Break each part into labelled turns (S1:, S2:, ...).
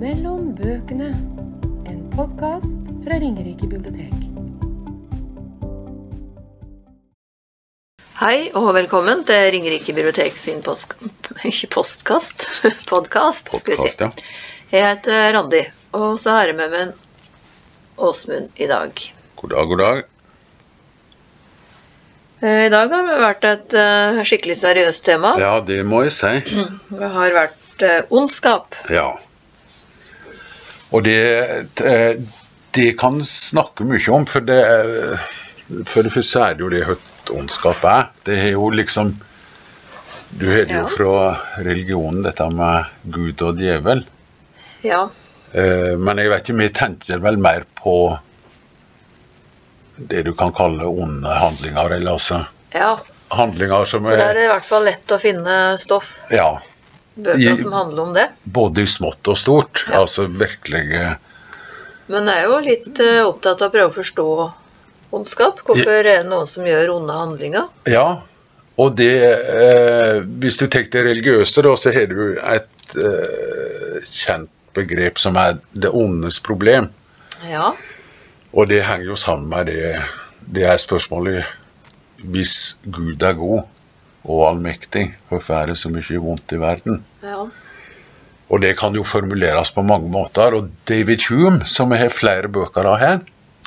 S1: Mellom bøkene. En podkast fra Ringerike bibliotek.
S2: Hei og velkommen til Ringerike bibliotek sin post... Ikke postkast, podkast, skal vi
S3: Podcast,
S2: si.
S3: ja.
S2: Jeg heter Randi, og så har jeg med meg en Åsmund i dag.
S3: God dag, god dag.
S2: Eh, I dag har det vært et eh, skikkelig seriøst tema.
S3: Ja, det må jeg si.
S2: Det har vært eh, ondskap.
S3: Ja. Og det, eh, det kan snakke mye om, for det er- For det første er det jo det høyt ondskap er. Det er jo liksom Du hører det
S2: Ja.
S3: jo fra religionen, dette med Gud og djevel.
S2: Ja.
S3: Eh, Men jeg vet ikke, vi tenker vel mer på det du kan kalle onde handlinger, eller altså
S2: ja.
S3: handlinger som
S2: For der er
S3: er
S2: det i hvert fall lett å finne stoff.
S3: Ja.
S2: Bøker
S3: I-
S2: som handler om det.
S3: både i smått og stort. Altså virkelig eh,
S2: Men jeg er jo litt eh, opptatt av å prøve å forstå ondskap. Hvorfor er det noen som gjør onde handlinger?
S3: Ja. Og det eh, Hvis du tar det religiøse, da, så har du et eh, kjent begrep som er det ondes problem.
S2: Ja.
S3: Og det henger jo sammen med det Det er spørsmålet Hvis Gud er god og allmektig, hvorfor er det så mye vondt i verden?
S2: ja.
S3: Og det kan jo formuleres på mange måter. Og David Hume, som jeg har flere bøker av her,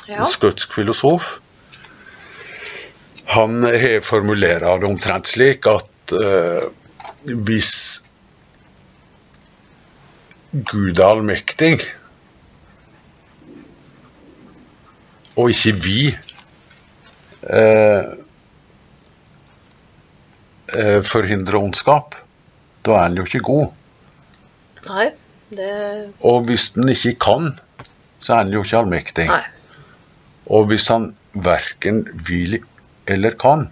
S2: Ja.
S3: en skotsk filosof, han har formulerer det omtrent slik at eh, hvis Gud er allmektig, og ikke vi eh, eh, forhindrer ondskap, da er han jo ikke god.
S2: Nei, det
S3: Og hvis den ikke kan, så er den jo ikke allmektig.
S2: Nei.
S3: Og hvis han verken vil eller kan,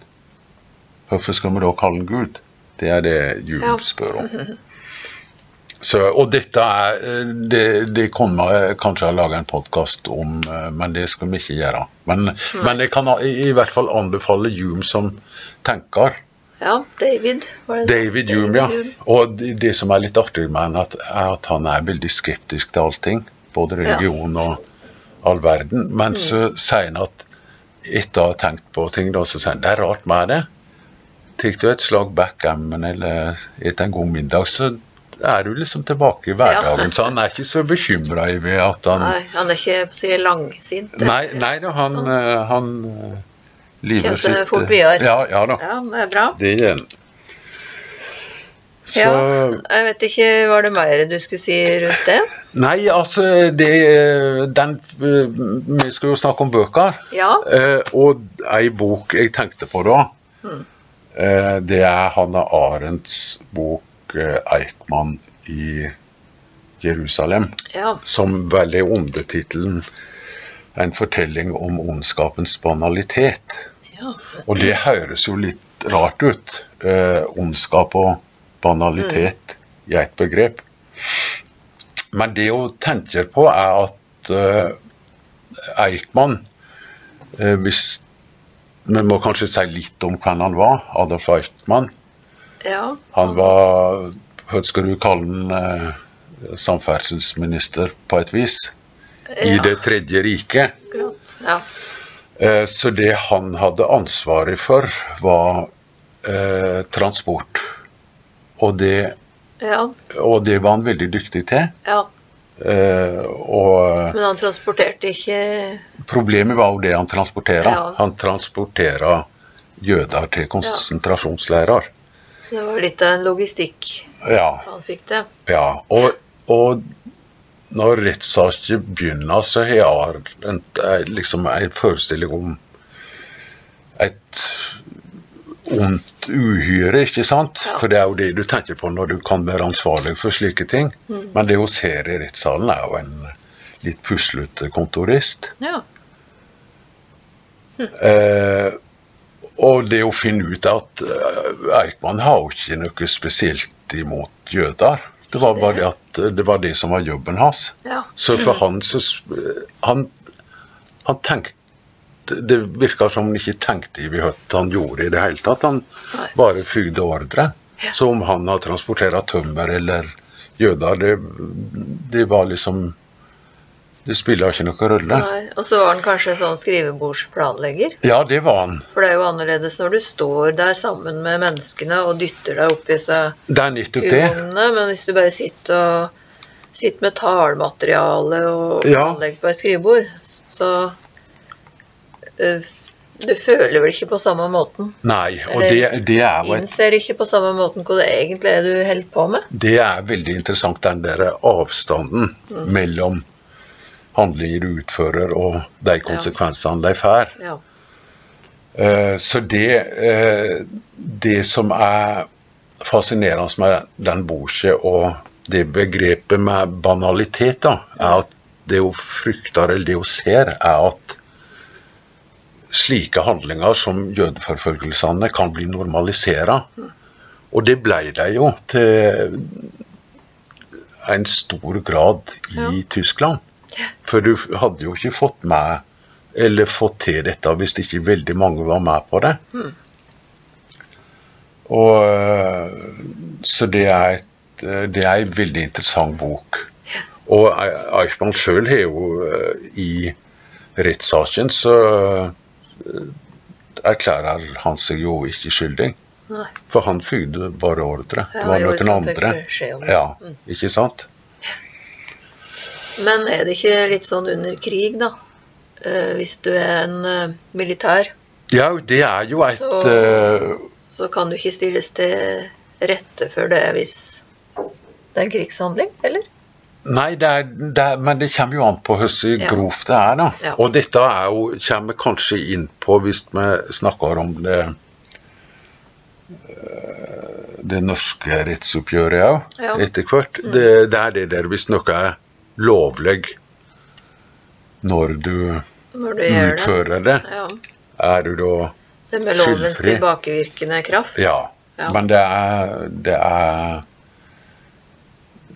S3: hvorfor skal vi da kalle han Gud? Det er det Jum
S2: Ja.
S3: spør om. Så, og dette er eh, Det, det kunne vi kanskje ha laga en podkast om, eh, men det skal vi ikke gjøre. Men, men jeg kan ha- i, i hvert fall anbefale Jum som tenker.
S2: Ja, David var det.
S3: David Hume, ja.
S2: Hume.
S3: Og det, det som er litt artig med han, at, er at han er veldig skeptisk til allting. Både religion og all verden. Men så sier han at etter å ha tenkt på ting, da, så sier han det er rart med det. Tar du et slag backgammon eller etter en god middag, så er du liksom tilbake i hverdagen. Så han er ikke så bekymra over at han
S2: Nei, han er ikke på å si langsint.
S3: Nei, nei da, han, eh, han eh, livet
S2: Kjente
S3: sitt eh,
S2: fort videre.
S3: Ja, ja da.
S2: Ja, det er bra.
S3: Det gjør han. Så
S2: Ja, jeg vet ikke, var det mer du skulle si rundt det?
S3: Nei, altså det, den, eh, Vi skal jo snakke om bøker.
S2: Ja.
S3: Eh, og ei bok jeg tenkte på da, eh, det er Hanna Arendts bok eh, 'Eichmann i Jerusalem',
S2: Ja.
S3: som vel er undertittelen 'En fortelling om ondskapens banalitet'.
S2: ja.
S3: Og det høres jo litt rart ut. Eh, ondskap og banalitet i ett begrep. Men det hun tenker på, er at eh, Eichmann eh, hvis, Vi må kanskje si litt om hvem han var. Adolf Eichmann.
S2: ja.
S3: Han var Hva skal du kalle han? Eh, samferdselsminister, på et vis. I
S2: Ja.
S3: Det tredje riket.
S2: Akkurat. Ja.
S3: Eh, Så det han hadde ansvaret for, var eh, transport. Og det,
S2: ja.
S3: og det var han veldig dyktig til.
S2: Ja.
S3: Eh, og
S2: Men han transporterte ikke
S3: problemet var jo det han transporterte.
S2: Ja.
S3: Han transporterte jøder til konsentrasjonsleirer.
S2: Det var litt av en logistikk
S3: Ja,
S2: han fikk det.
S3: ja. Og, og når rettssaken begynner, så har jeg en, eh, liksom en forestilling om et ondt uhyre, ikke sant?
S2: Ja.
S3: For det er jo det du tenker på når du kan være ansvarlig for slike ting. Men det hun ser i rettssalen, er jo en litt puslete kontorist.
S2: Ja.
S3: Eh, Og det å finne ut at eh, Eichmann har jo ikke noe spesielt imot jøder. Det var bare det at eh, det var det som var jobben hans.
S2: Ja.
S3: Så for han så s- eh, Han, han tenkte Det virka som han ikke tenkte i hva han gjorde i det hele tatt. Han
S2: Nei.
S3: bare fygde ordre. Så om han har transportert tømmer eller jøder, det, det var liksom Det spiller ikke noen rolle.
S2: Nei. Og så var han kanskje sånn skrivebordsplanlegger.
S3: Ja, det var han.
S2: For det er jo annerledes når du står der sammen med menneskene og dytter deg oppi seg
S3: Det er nettopp det.
S2: kuronene, men hvis du bare sitter og sitter med tallmateriale og
S3: Ja.
S2: planlegger på et skrivebord, så øh, du føler vel ikke på samme måten.
S3: Nei, og det, det er jo et
S2: Innser ikke på samme måten hva det egentlig er du holder på med.
S3: Det er veldig interessant, den der avstanden mellom handlinger du utfører og de konsekvensene de får.
S2: Ja.
S3: Eh, Så det, eh, det som er fascinerende med den boka og det begrepet med banalitet, da, er at det hun frykter, eller det hun ser, er at slike handlinger som jødeforfølgelsene kan bli normalisert. Og det ble de jo til en stor grad i Tyskland. For du hadde jo ikke fått med eller fått til dette hvis ikke veldig mange var med på det.
S2: Hmm.
S3: Og, øh, så det er, et, øh, det er en veldig interessant bok. Og E- Eichmann sjøl har jo øh, i rettssaken så øh, erklærer han seg jo ikke skyldig.
S2: Nei.
S3: For han føyde bare ordre.
S2: Ja,
S3: Det var
S2: i år
S3: noen
S2: så fikk
S3: andre.
S2: vi beskjed om det. Hmm.
S3: Ja, ikke sant?
S2: Men er det ikke litt sånn under krig, da? Eh, hvis du er en eh, militær,
S3: Ja, det er jo et
S2: Så-
S3: øh,
S2: så kan du ikke stilles til rette for det hvis det er en krigshandling, eller?
S3: Nei, det er, det er, men det kommer jo an på hvordan
S2: Ja.
S3: grovt det er. da.
S2: Ja.
S3: Og dette er jo, kommer kanskje inn på hvis vi snakker om det eh, det norske rettsoppgjøret òg,
S2: Ja. Mm.
S3: etter hvert. Det, det er det der hvis noe er lovlig når du
S2: Når du gjør det.
S3: utfører det,
S2: Ja.
S3: er du da
S2: Det med lovens
S3: Skyldfri.
S2: tilbakevirkende kraft.
S3: ja.
S2: Ja.
S3: Men det er, det er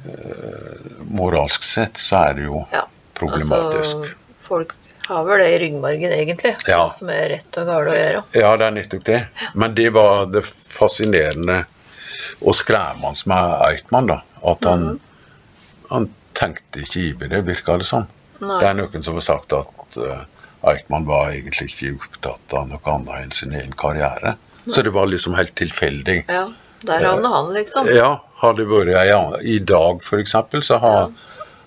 S3: eh, Moralsk sett så er det jo
S2: Ja.
S3: problematisk.
S2: Altså, folk har vel det i ryggmargen, egentlig.
S3: Ja.
S2: hva Som er rett og galt å gjøre.
S3: Ja, det er nettopp det. Men det var det fascinerende og skremmende med Eichmann, da. At han,
S2: Mhm.
S3: han tenkte ikke over det, virka det som.
S2: Nei.
S3: Det er noen som har sagt at eh, Eichmann var egentlig ikke opptatt av noe annet enn sin egen karriere. Så det var liksom helt tilfeldig.
S2: Ja. Der havner han, liksom.
S3: Ja, hadde det vært ei anna- i dag f.eks., så har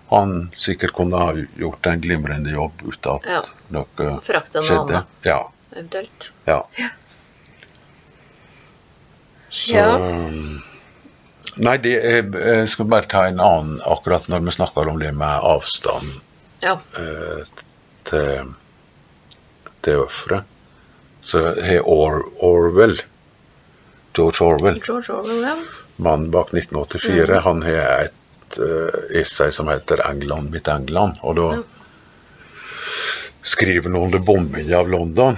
S3: han sikkert kunne ha gjort en glimrende jobb uten at
S2: Ja.
S3: noe
S2: Frakta noe
S3: skjedde.
S2: annet.
S3: Ja.
S2: Eventuelt.
S3: Ja. Så um,
S2: Ja.
S3: Nei, det er, jeg skal bare ta en annen akkurat når vi snakker om det med avstand
S2: Ja.
S3: eh, til, til offeret. Så har Or Orwell, George Orwell,
S2: George Orwell, ja.
S3: mannen bak 1984, han har et eh, essay som heter 'England, mitt England'. Og da skriver han under bombingen av London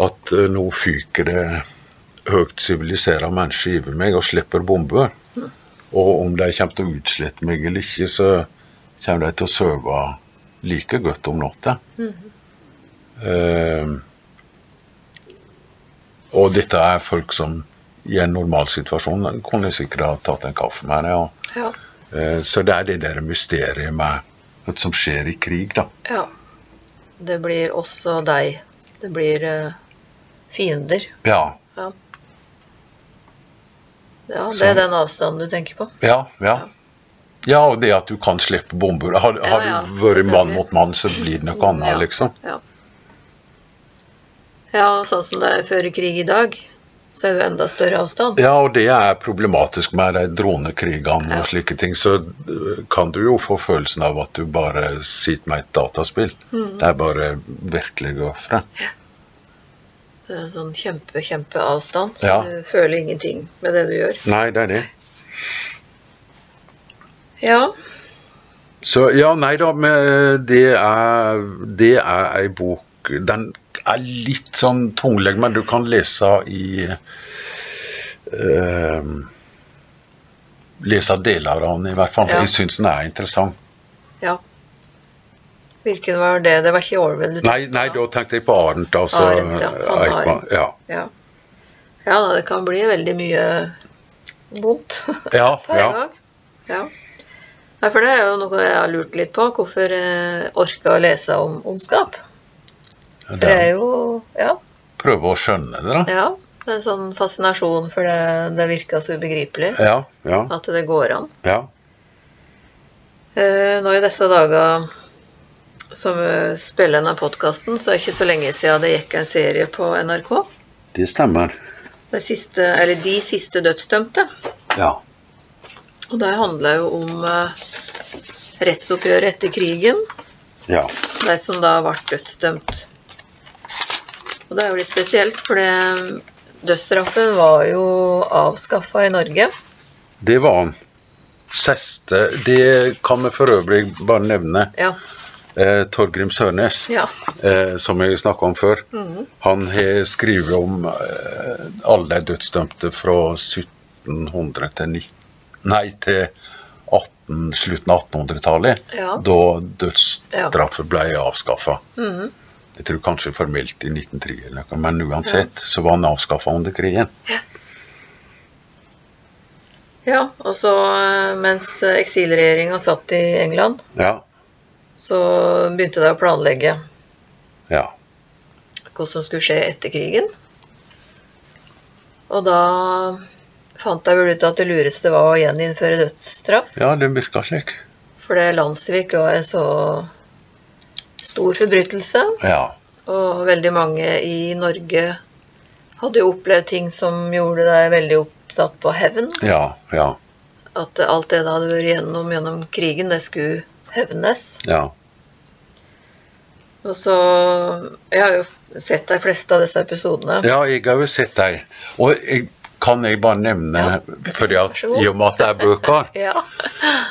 S3: at eh, nå fyker det høyt siviliserte mennesker over meg og slipper bomber. Og om de kommer til å utslette meg eller ikke, så kommer de til å sove like godt om natta. Eh, og dette er folk som i en normal situasjon kunne sikkert ha tatt en kaffe med det. Og,
S2: Ja.
S3: eh, så det er det der mysteriet med hva som skjer i krig, da.
S2: ja. Det blir også deg. Det blir eh, fiender.
S3: Ja,
S2: Ja. ja, det er den avstanden du tenker på.
S3: ja, ja. Ja, og det at du kan slippe bomber. Har, har
S2: ja,
S3: du vært mann
S2: selvfølgelig.
S3: mot mann, så blir det noe annet,
S2: Ja,
S3: liksom.
S2: Ja. ja, og sånn som det er før krig i dag, så er det jo enda større avstand.
S3: Ja, og det er problematisk med de dronekrigene
S2: Ja.
S3: og slike ting. Så øh, kan du jo få følelsen av at du bare sitter med et dataspill.
S2: Mm.
S3: Det er bare virkelige ofre.
S2: Det er en sånn kjempe, kjempeavstand, så
S3: Ja.
S2: du føler ingenting med det du gjør.
S3: Nei, det er det.
S2: Ja,
S3: Så ja, nei da, men eh, det er, det er ei bok Den er litt sånn tungleg, men du kan lese i eh, Lese deler av den, i hvert fall.
S2: Ja.
S3: Jeg syns den er interessant.
S2: ja. Hvilken var det? Det var ikke Orwell du
S3: Nei, nei, da tenkte jeg på Arendt, altså.
S2: Arendt, ja. Han
S3: Eichmann,
S2: Arendt.
S3: ja.
S2: Ja. ja, da, det kan bli veldig mye vondt
S3: Ja,
S2: på en
S3: ja.
S2: gang. Ja. Nei, for det er jo noe jeg har lurt litt på. Hvorfor jeg orker å lese om ondskap. For det er jo Ja.
S3: Prøve å skjønne det, da.
S2: ja det er en sånn fascinasjon for det, det virker så ubegripelig
S3: Ja, ja,
S2: at det går an.
S3: ja.
S2: Eh, nå i disse dager som eh, spiller denne podkasten, så er det ikke så lenge siden det gikk en serie på NRK.
S3: Det stemmer.
S2: Det siste, eller De siste dødsdømte.
S3: Ja.
S2: Og det handla jo om eh, rettsoppgjøret etter krigen.
S3: Ja.
S2: De som da ble dødsdømt. Og det er jo litt spesielt, for det- dødsstraffen var jo avskaffa i Norge.
S3: Det var han. Siste Det kan vi for øvrig bare nevne.
S2: Ja.
S3: Eh, Torgrim Sørnes,
S2: Ja.
S3: eh, som jeg snakka om før, han har skrevet om eh, alle de dødsdømte fra 1700 til 19... Nei, til 18, slutten av 1800-tallet,
S2: Ja.
S3: da dødsstraffen ble avskaffa.
S2: Mhm.
S3: Jeg tror kanskje formelt i 1903, eller noe, men uansett så var han avskaffa under krigen.
S2: ja. Og så eh, mens eksilregjeringa satt i England,
S3: Ja,
S2: så begynte de å planlegge
S3: ja,
S2: hva som skulle skje etter krigen. Og da fant jeg vel ut at det lureste var å gjeninnføre dødsstraff,
S3: ja det virka slik.
S2: fordi landssvik var en så stor forbrytelse,
S3: Ja,
S2: og veldig mange i Norge hadde jo opplevd ting som gjorde deg veldig oppsatt på hevn.
S3: ja, ja,
S2: At alt det det hadde vært gjennom gjennom krigen, det skulle hevnes.
S3: ja.
S2: Og så Jeg har jo sett de fleste av disse episodene.
S3: Ja, jeg har jo sett deg. Og jeg, kan jeg bare nevne, fordi
S2: Vær
S3: at,
S2: så god.
S3: i og med at det er bøker,
S2: Ja.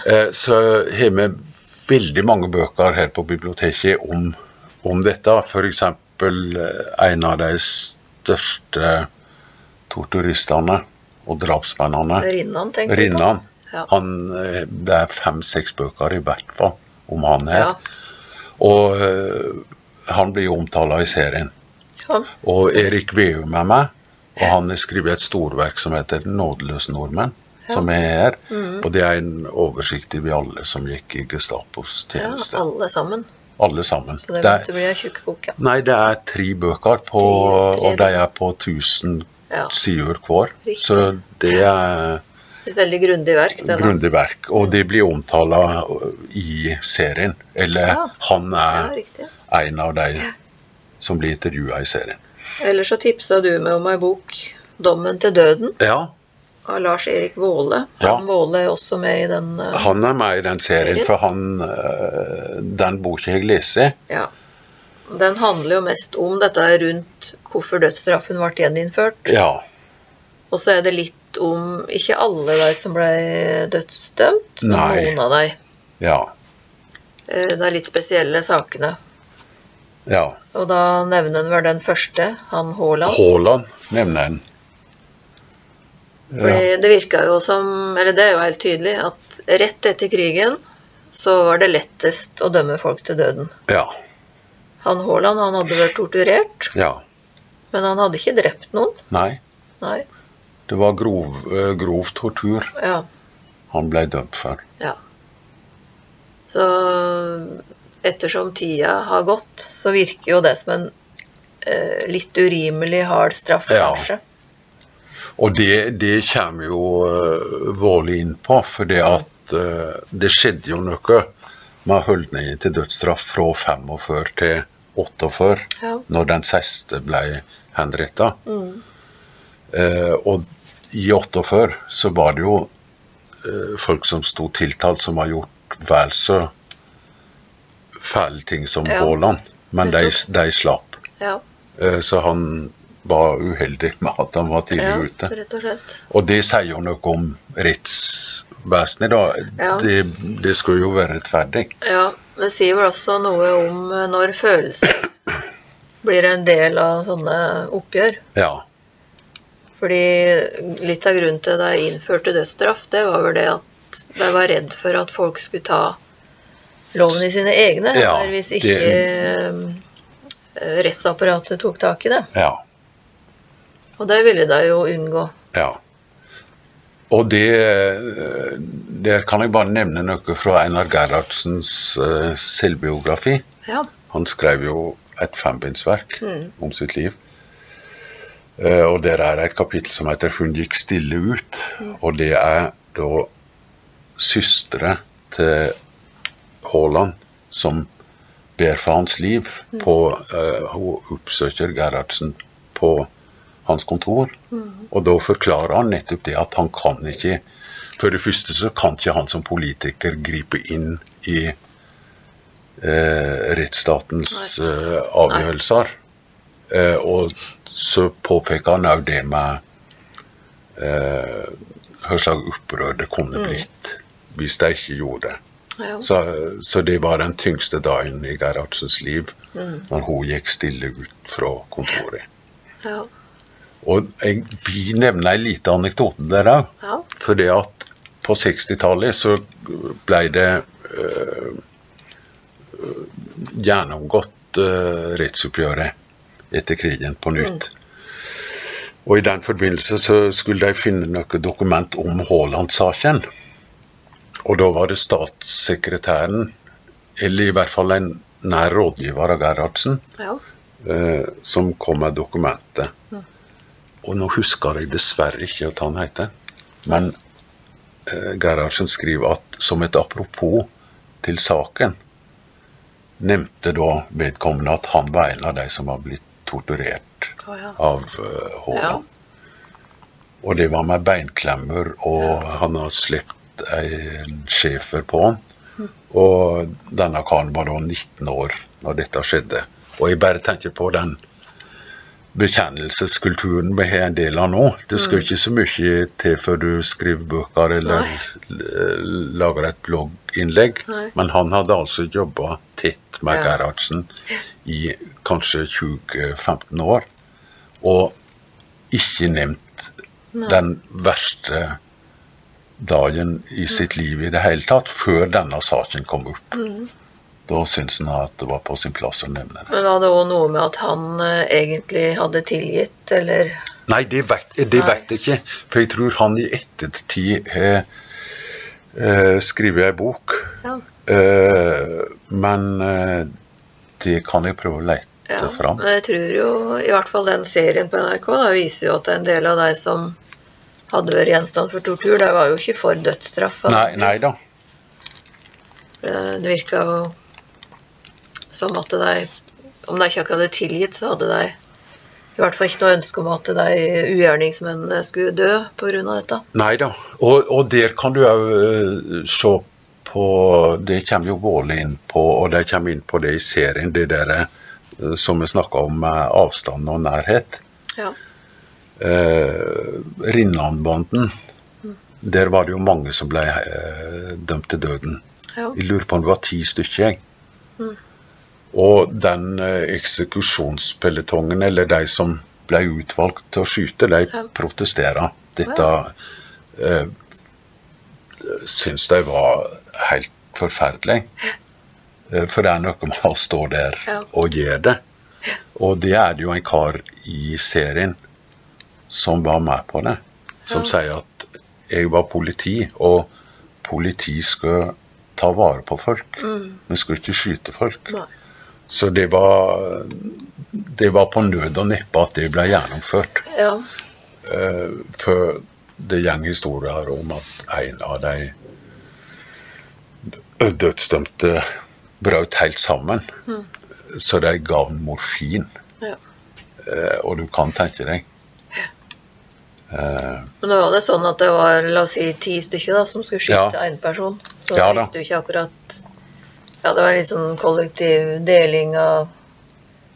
S3: eh, så har vi veldig mange bøker her på biblioteket om, om dette. F.eks. en av de største torturistene og drapsmennene,
S2: Rinnan, tenker du på?
S3: Rinnan.
S2: Ja.
S3: Han, eh, det er fem-seks bøker i hvert fall om han her.
S2: Ja.
S3: Og eh, han blir jo omtala i serien.
S2: ja.
S3: Og Erik Veum er med, og han har skrevet et storverk som heter 'Nådeløse nordmenn', som er her.
S2: Mm.
S3: Og det er en oversikt over alle som gikk i Gestapos
S2: Ja,
S3: tjeneste. alle.
S2: alle sammen.
S3: sammen.
S2: Så det
S3: Det
S2: måtte
S3: er,
S2: bli ei tjukk bok, ja.
S3: nei, det er tre bøker, på,
S2: Tre- tre
S3: og de er på 1000
S2: Ja.
S3: sider hver.
S2: Riktig.
S3: Så det er
S2: Et veldig grundig verk. det da.
S3: grundig verk. Og de blir omtala i serien. Eller
S2: Ja.
S3: han
S2: Ja,
S3: er
S2: riktig.
S3: en av de som blir intervjua i serien.
S2: Ellers så tipsa du meg om ei bok, 'Dommen til døden',
S3: Ja,
S2: av Lars-Erik Våle.
S3: Ja.
S2: Han Våle er også med i den eh,
S3: Han er med i den serien,
S2: Serien?
S3: for han, øh, den boka jeg eh? leser
S2: Ja. Den handler jo mest om dette rundt hvorfor dødsstraffen ble gjeninnført.
S3: Ja.
S2: Og så er det litt om ikke alle de som ble dødsdømt, men
S3: Nei.
S2: noen av de.
S3: Ja.
S2: Eh, De litt spesielle sakene.
S3: ja.
S2: Og da nevner han vel den første, han Haaland.
S3: Haaland nevner en.
S2: Fordi det virka jo som, eller det er jo helt tydelig, at rett etter krigen så var det lettest å dømme folk til døden.
S3: Ja.
S2: Han Haaland han hadde vært torturert,
S3: ja.
S2: men han hadde ikke drept noen.
S3: Nei.
S2: Nei.
S3: Det var grov, øh, grov tortur
S2: Ja.
S3: han ble dømt for.
S2: ja. Så ettersom tida har gått, så virker jo det som en eh, litt urimelig hard straff,
S3: Ja.
S2: kanskje.
S3: Og det, det kommer jo uh, Våle inn på, for det at øh, det skjedde jo noe med holdningen til dødsstraff fra 45 til 48,
S2: Ja. Mm.
S3: når den siste ble henretta. Eh, og i 48 så var det jo eh, folk som sto tiltalt, som har gjort vel så fæle ting som
S2: Ja.
S3: Haaland, men de, de slapp.
S2: Ja.
S3: Eh, så han var uheldig med at han var tidlig
S2: ja.
S3: ute.
S2: Rett og slett.
S3: Og det sier jo noe om rettsvesenet, da.
S2: Ja.
S3: Det, det skulle jo være rettferdig.
S2: Ja, men sier vel også noe om eh, når følelser blir en del av sånne oppgjør.
S3: Ja.
S2: Fordi litt av grunnen til at de innførte dødsstraff, det var vel det at de var redd for at folk skulle ta loven i sine egne
S3: Ja,
S2: hender hvis ikke eh, rettsapparatet tok tak i det.
S3: Ja.
S2: Og det ville de jo unngå.
S3: Ja. Og det Der kan jeg bare nevne noe fra Einar Gerhardsens eh, selvbiografi.
S2: Ja.
S3: Han skrev jo et fembindsverk om sitt liv. Eh, og der er det et kapittel som heter 'Hun gikk stille ut'. Og det er da søstre til Haaland som ber for hans liv. På, eh, hun oppsøker Gerhardsen på hans kontor, og da forklarer han nettopp det at han kan ikke For det første så kan ikke han som politiker gripe inn i eh, rettsstatens eh, avgjørelser. Eh, og så påpeker han òg det med eh, hva slags opprør det kunne blitt hvis de ikke gjorde det.
S2: Ja.
S3: Så, så det var den tyngste dagen i Gerhardsens liv, når hun gikk stille ut fra kontoret.
S2: ja.
S3: Og jeg vil nevne en liten anekdote der òg.
S2: Ja.
S3: Fordi at på 60-tallet så ble det øh, gjennomgått øh, rettsoppgjøret etter krigen på nytt. Og i den forbindelse så skulle de finne noe dokument om Haaland-saken. Og da var det statssekretæren, eller i hvert fall en nær rådgiver av Gerhardsen,
S2: ja.
S3: eh, som kom med dokumentet. Og nå husker jeg dessverre ikke hva han heter, men eh, Gerhardsen skriver at som et apropos til saken, nevnte da vedkommende at han var en av de som var blitt torturert
S2: Å, ja.
S3: av eh, Haaland. Og det var med beinklemmer, og han har slept en schæfer på han. Og denne karen var da 19 år når dette skjedde. Og jeg bare tenker på den bekjennelseskulturen vi har en del av nå. Det skal ikke så mye til før du skriver bøker eller l- lager et blogginnlegg.
S2: Nei.
S3: Men han hadde altså jobba tett med
S2: Ja.
S3: Gerhardsen i kanskje 20-15 år. Og ikke nevnt den verste dagen
S2: Mm.
S3: i sitt liv i det hele tatt, før denne saken kom opp.
S2: Mm.
S3: Da syns han at det var på sin plass å nevne det.
S2: Men var det òg noe med at han eh, egentlig hadde tilgitt, eller
S3: Nei, det vet, det
S2: Nei.
S3: vet jeg ikke, for jeg tror han i ettertid har eh, skrevet ei bok.
S2: Ja.
S3: Eh, men eh, det kan jeg prøve å lete
S2: Ja,
S3: fram.
S2: men jeg tror jo, i hvert fall den serien på NRK, da viser jo at en del av de som hadde vært gjenstand for tortur, de var jo ikke for dødsstraff. da.
S3: Nei, nei da.
S2: Eh, Det virka jo som at de Om de ikke akkurat hadde tilgitt, så hadde de i hvert fall ikke noe ønske om at de ugjerningsmennene skulle dø pga. dette.
S3: Nei da. Og, og der kan du òg se på Det kommer jo Våle inn på, og de kommer inn på det i serien, det der eh, som vi snakka om med avstand og nærhet.
S2: Ja.
S3: Eh, Rinnlandbanden, der var det jo mange som ble eh, dømt til døden.
S2: Ja. Mm.
S3: Jeg lurer på om det var ti stykker. jeg. Og den eh, eksekusjonspeletongen, eller de som ble utvalgt til å skyte, de
S2: Ja.
S3: protesterer. Dette eh, syns de var helt forferdelig. Eh, For det er noe med å stå der
S2: Ja.
S3: og gjøre det. Og det er det jo en kar i serien som var med på det, som sier at jeg var politi, og politi skulle ta vare på folk. Vi skulle ikke skyte folk.
S2: Mm. Nei.
S3: Så det var, det var på nød og neppe at det ble gjennomført.
S2: ja.
S3: Eh, for det går historier om at en av de d- dødsdømte brøt helt sammen.
S2: Mm.
S3: Så de gav han morfin,
S2: ja.
S3: eh, og du kan tenke deg.
S2: Men da var det sånn at det var la oss si, ti stykker da, som skulle
S3: Ja.
S2: skyte én person. Så
S3: Ja
S2: da
S3: da.
S2: visste du ikke akkurat Ja, det var litt sånn kollektiv deling av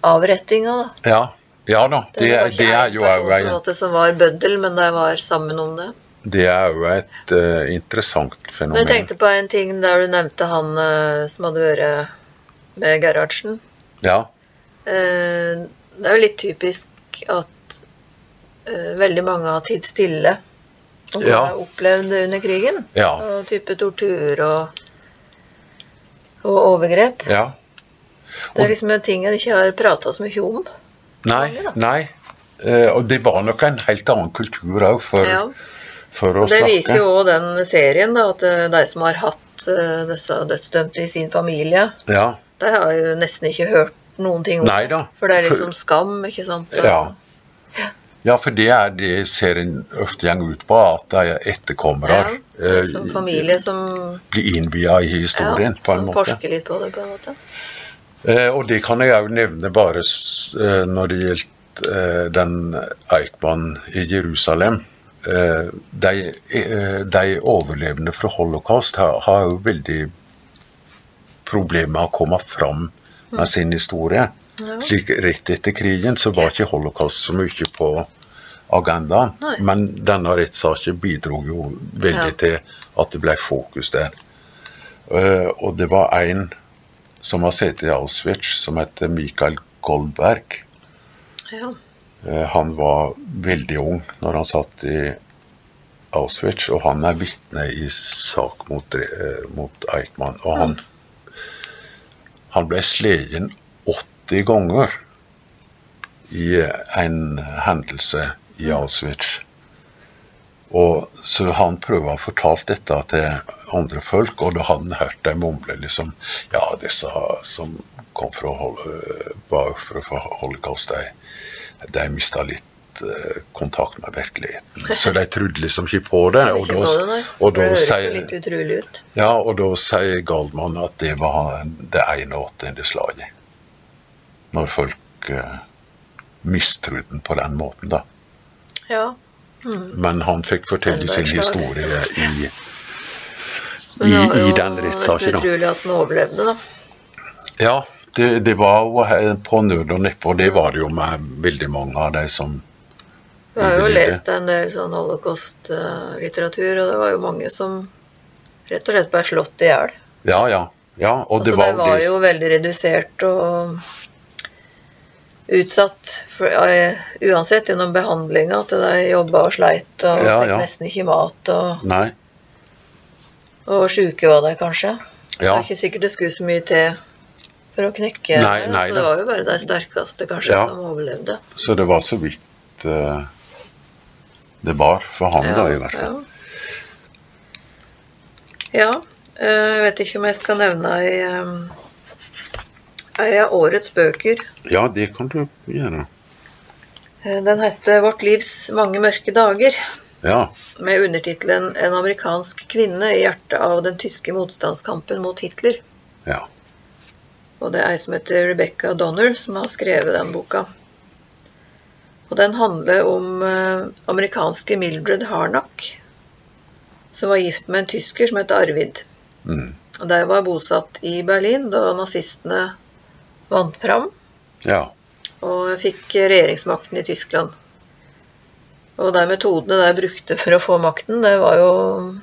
S2: avrettinga, da.
S3: Ja, ja da, det,
S2: var
S3: det,
S2: ikke
S3: er
S2: én
S3: jo
S2: person
S3: òg
S2: på en måte som var bøddel, men de var sammen om det.
S3: Det er jo et eh, interessant
S2: Men
S3: fenomen.
S2: jeg tenkte på en ting der du nevnte han eh, som hadde vært med Gerhardsen.
S3: Ja,
S2: Eh, det er jo litt typisk at eh, veldig mange har tid stille. Og
S3: Ja.
S2: har opplevd det under krigen.
S3: Ja.
S2: Og type tortur og, og overgrep.
S3: ja.
S2: Det er liksom en ting en ikke har prata så mye om.
S3: Nei, nei. Eh, og det var nok en helt annen kultur òg, for
S2: Ja.
S3: for å
S2: Og det
S3: snakke.
S2: viser jo òg den serien, da, at eh, de som har hatt eh, disse dødsdømte i sin familie,
S3: Ja.
S2: de har jo nesten ikke hørt noen ting om
S3: Nei da.
S2: det. For det er liksom
S3: For-
S2: skam, ikke sant? Så-
S3: Ja. ja, for det er det serien ofte går ut på, at de etterkommere
S2: Ja,
S3: eh,
S2: Som familie som
S3: blir innvia i historien på en
S2: som
S3: måte.
S2: forsker litt på det, på en måte.
S3: Eh, og det kan jeg òg nevne bare s- eh, når det gjelder eh, den Eichmann i Jerusalem. Eh, de, eh, de overlevende fra holocaust har, har jo veldig problemer med å komme fram med sin historie. Slik Rett etter krigen så var ikke holocaust så mye på agendaen,
S2: Nei.
S3: men denne rettssaken bidro jo veldig
S2: Ja.
S3: til at det ble fokus der. Eh, og det var en som har sittet i Auschwitz, som heter Mikael Goldberg.
S2: Ja.
S3: Eh, Han var veldig ung når han satt i Auschwitz, og han er vitne i sak mot, eh, mot Eichmann. Og han, han ble slegen 80 ganger i en hendelse i Auschwitz. Og Så han prøver å ha fortalt dette til andre folk, og da hadde han hørt dem mumle liksom Ja, disse som kom fra hol- var ofre for holocaust, de, de mista litt eh, kontakt med virkeligheten. Så de trodde liksom ikke på det.
S2: Men
S3: Og
S2: ikke
S3: da,
S2: på det, nei.
S3: og da
S2: det høres jo
S3: sier
S2: litt utrolig ut.
S3: ja, og da sier Galdman at det var han- det 81. slaget. Når folk eh, mistrodde den på den måten, da.
S2: Ja.
S3: Men han fikk fortelle
S2: Enda
S3: sin
S2: et slag.
S3: historie i,
S2: Men
S3: i,
S2: det var
S3: i
S2: jo
S3: den
S2: nesten
S3: rettssaken. da.
S2: Utrolig at den overlevde, da.
S3: Ja, det, det var jo he- på nød og neppe, og det var det jo med veldig mange av de som
S2: Vi har jo
S3: overlevde.
S2: lest en del sånn holocaust-litteratur, og det var jo mange som rett og slett ble slått i hjel.
S3: Ja, ja. ja og det
S2: Altså,
S3: var,
S2: de var
S3: det-
S2: jo veldig redusert og utsatt, for, eh, uansett gjennom behandlinga, at de jobba og sleit og
S3: Ja,
S2: fikk
S3: ja.
S2: nesten ikke mat, og,
S3: Nei.
S2: og sjuke var de kanskje. Så det
S3: Ja.
S2: er ikke sikkert det skulle så mye til for å knekke
S3: Nei,
S2: det,
S3: nei
S2: så
S3: da.
S2: det var jo bare de sterkeste kanskje
S3: Ja.
S2: som overlevde.
S3: Så det var så vidt eh, det var for han, da, i hvert fall.
S2: Ja. eh, Jeg vet ikke om jeg skal nevne ei eh, ei av årets bøker.
S3: Ja, det kan du gjøre.
S2: Eh, Den heter 'Vårt livs mange mørke dager',
S3: Ja.
S2: med undertittelen 'En amerikansk kvinne i hjertet av den tyske motstandskampen mot Hitler'.
S3: ja.
S2: Og det er ei som heter Rebecca Donner, som har skrevet den boka. Og den handler om eh, amerikanske Mildred Harnack, som var gift med en tysker som het Arvid.
S3: Mm.
S2: Og De var bosatt i Berlin da nazistene vant fram
S3: Ja.
S2: og fikk regjeringsmakten i Tyskland. Og de metodene de brukte for å få makten, det var jo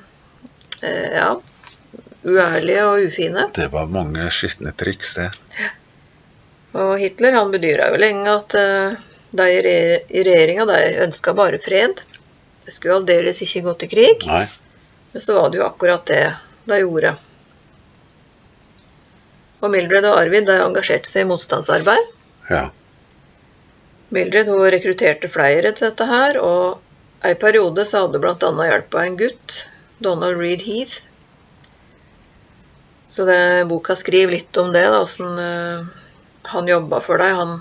S2: eh, ja, uærlige og ufine.
S3: Det var mange skitne triks, det.
S2: Og Hitler han bedyra jo lenge at eh, de i re- i regjeringa ønska bare fred. Det skulle aldeles ikke gå til krig.
S3: Nei.
S2: Men så var det jo akkurat det de gjorde. Og Mildred og Arvid de engasjerte seg i motstandsarbeid.
S3: Ja.
S2: Mildred hun rekrutterte flere til dette her, og ei periode så hadde hun bl.a. hjelp av en gutt, Donald Reed Heath. Så det, boka skriver litt om det, da, åssen eh, han jobba for deg. Han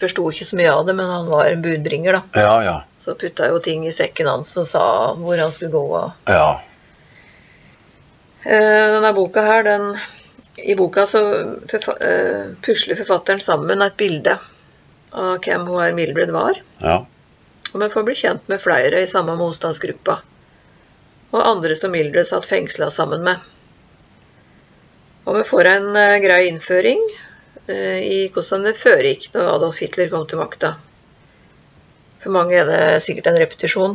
S2: forsto ikke så mye av det, men han var en budbringer, da.
S3: Ja, ja.
S2: Så putta jo ting i sekken hans og sa hvor han skulle gå. og
S3: Ja.
S2: Eh, Denne boka her, den I boka så forfa eh, pusler forfatteren sammen et bilde av hvem hun her Mildred var.
S3: Ja.
S2: Og man får bli kjent med flere i samme motstandsgruppa. Og andre som Mildred satt fengsla sammen med. Og vi får en eh, grei innføring eh, i hvordan det foregikk da Adolf Hitler kom til makta. For mange er det sikkert en repetisjon.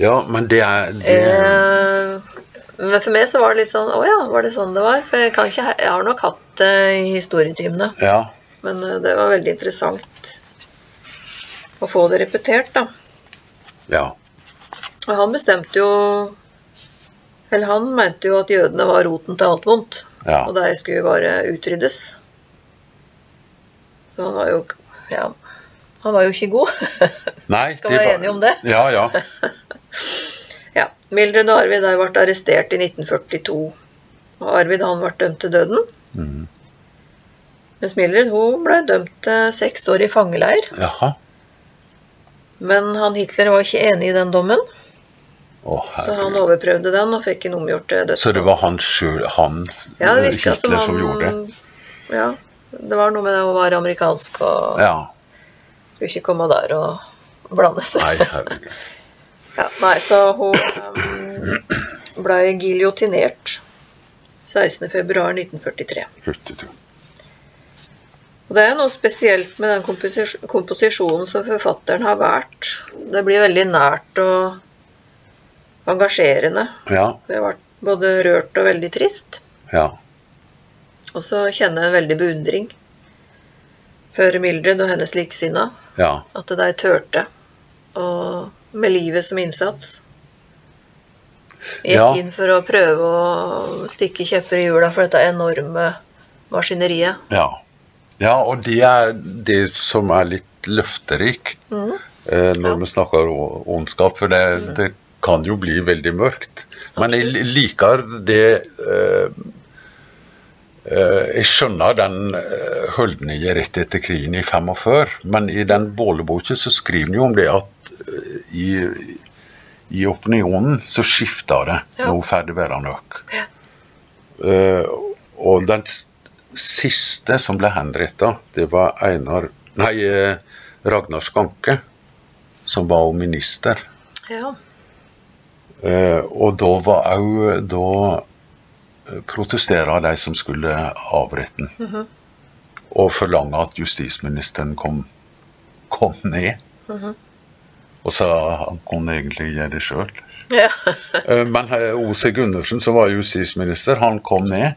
S3: ja men det er det,
S2: Eh, men for meg så var det litt sånn Å ja, var det sånn det var? For jeg, kan ikke, jeg har nok hatt det i historietimene.
S3: Ja.
S2: Men eh, det var veldig interessant å få det repetert, da.
S3: Ja.
S2: Og han bestemte jo Eller han mente jo at jødene var roten til alt vondt.
S3: Ja.
S2: Og de skulle bare utryddes. Så han var jo Ja. Han var jo ikke god.
S3: Nei,
S2: Skal være enige om det.
S3: Ja, ja.
S2: Ja, Mildred og Arvid der ble arrestert i 1942. Og Arvid han ble dømt til døden. Mens Mildred hun ble dømt til seks år i fangeleir.
S3: Jaha.
S2: Men han Hitler var ikke enig i den dommen,
S3: Å,
S2: så han
S3: herregud.
S2: overprøvde den og fikk den omgjort til
S3: Så
S2: dødsstraff.
S3: det var han sjøl, han
S2: Ja, det virket
S3: Hitler, som,
S2: han-
S3: gjorde det?
S2: Ja. Det var noe med det å være amerikansk og
S3: Ja.
S2: skulle ikke komme der og blande seg.
S3: Nei, herregud.
S2: Ja, nei, så hun um, ble giljotinert 16.2.1943.
S3: Hurtigtur.
S2: Og det er noe spesielt med den komposis komposisjonen som forfatteren har valgt. Det blir veldig nært og engasjerende.
S3: Ja.
S2: Jeg ble både rørt og veldig trist.
S3: Ja.
S2: Og så kjenner jeg en veldig beundring for Mildred og hennes likesinnede.
S3: Ja.
S2: At de turte, og med livet som innsats. Gikk
S3: Ja.
S2: inn for å prøve å stikke kjepper i hjula for dette enorme maskineriet.
S3: Ja, ja og det er det som er litt løfterik
S2: Mm.
S3: eh, når vi snakker o- ondskap, for det, det kan jo bli veldig mørkt. Men jeg li- liker det eh, eh, Jeg skjønner den eh, holdningen rett etter krigen i 45, men i den båleboka så skriver han jo om det at eh, i, i opinionen så skifter det
S2: Ja.
S3: når hun ferdig være nok.
S2: Ja.
S3: Eh, og den s- siste som ble henrettet, det var Einar Nei, eh, Ragnar Skanke, som var jo minister.
S2: Ja.
S3: Eh, og da var òg Da protesterte de som skulle avrette den, og forlange at justisministeren kom, kom ned. Og sa han kunne egentlig gjøre det sjøl.
S2: ja.
S3: Eh, Men eh, O.C. Gundersen, som var justisminister, han kom ned.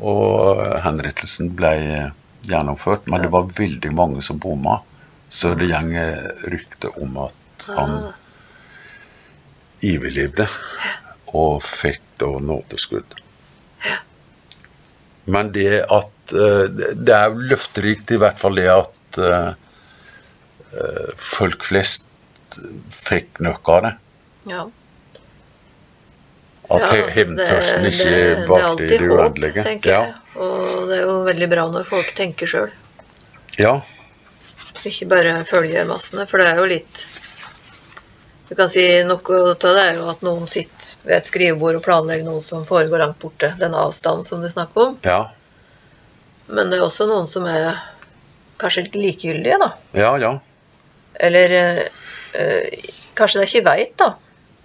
S3: Og eh, henrettelsen ble eh, gjennomført, men det var veldig mange som bomma. Så det går rykte om at han iverlevde og fikk da nådeskudd. Men det at eh, Det det er jo løfterikt i hvert fall det at eh, eh, folk flest fikk nok av det.
S2: ja.
S3: At
S2: Ja,
S3: he-
S2: det-
S3: hevntørsten
S2: det-
S3: ikke
S2: det er
S3: varte i
S2: alltid
S3: det
S2: håp,
S3: uendelige.
S2: tenker
S3: Ja.
S2: jeg. Og det er jo veldig bra når folk tenker sjøl,
S3: ja.
S2: ikke bare følger massene. For det er jo litt Du kan si noe av det er jo at noen sitter ved et skrivebord og planlegger noe som foregår langt borte. Den avstanden som du snakker om.
S3: Ja.
S2: Men det er også noen som er kanskje litt likegyldige, da.
S3: Ja, ja.
S2: Eller eh, eh, kanskje de ikke veit, da,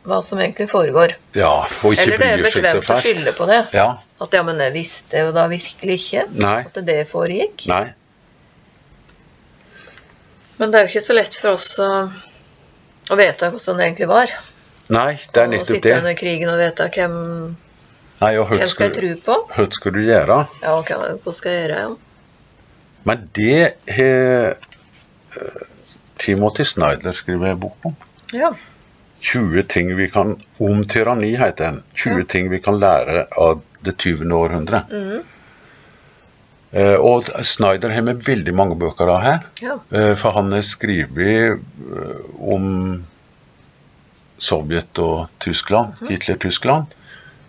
S2: hva som egentlig foregår.
S3: ja. Og ikke
S2: Eller det er
S3: bryr seg så
S2: bekvemt å
S3: fælt.
S2: skylde på det.
S3: Ja.
S2: At ja, men jeg visste jo da virkelig ikke
S3: Nei.
S2: at det foregikk.
S3: Nei.
S2: Men det er jo ikke så lett for oss å, å vite hvordan det egentlig var.
S3: Nei, det er
S2: Å
S3: nettopp
S2: sitte
S3: det.
S2: under krigen og vite hvem,
S3: Nei, og
S2: hvem skal jeg tro på.
S3: hva skal du gjøre?
S2: Ja, og hva hva skal jeg gjøre? Ja.
S3: Men det har eh, Timothy Snyder skrevet en bok om.
S2: Ja.
S3: 20 ting vi kan Om tyranni, heter den. 20 ting vi kan lære av det 20. århundret.
S2: Mm.
S3: Eh, og Snyder har vi veldig mange bøker av her.
S2: Ja.
S3: Eh, for han har skrevet eh, om Sovjet og Tyskland, Hitler-Tyskland.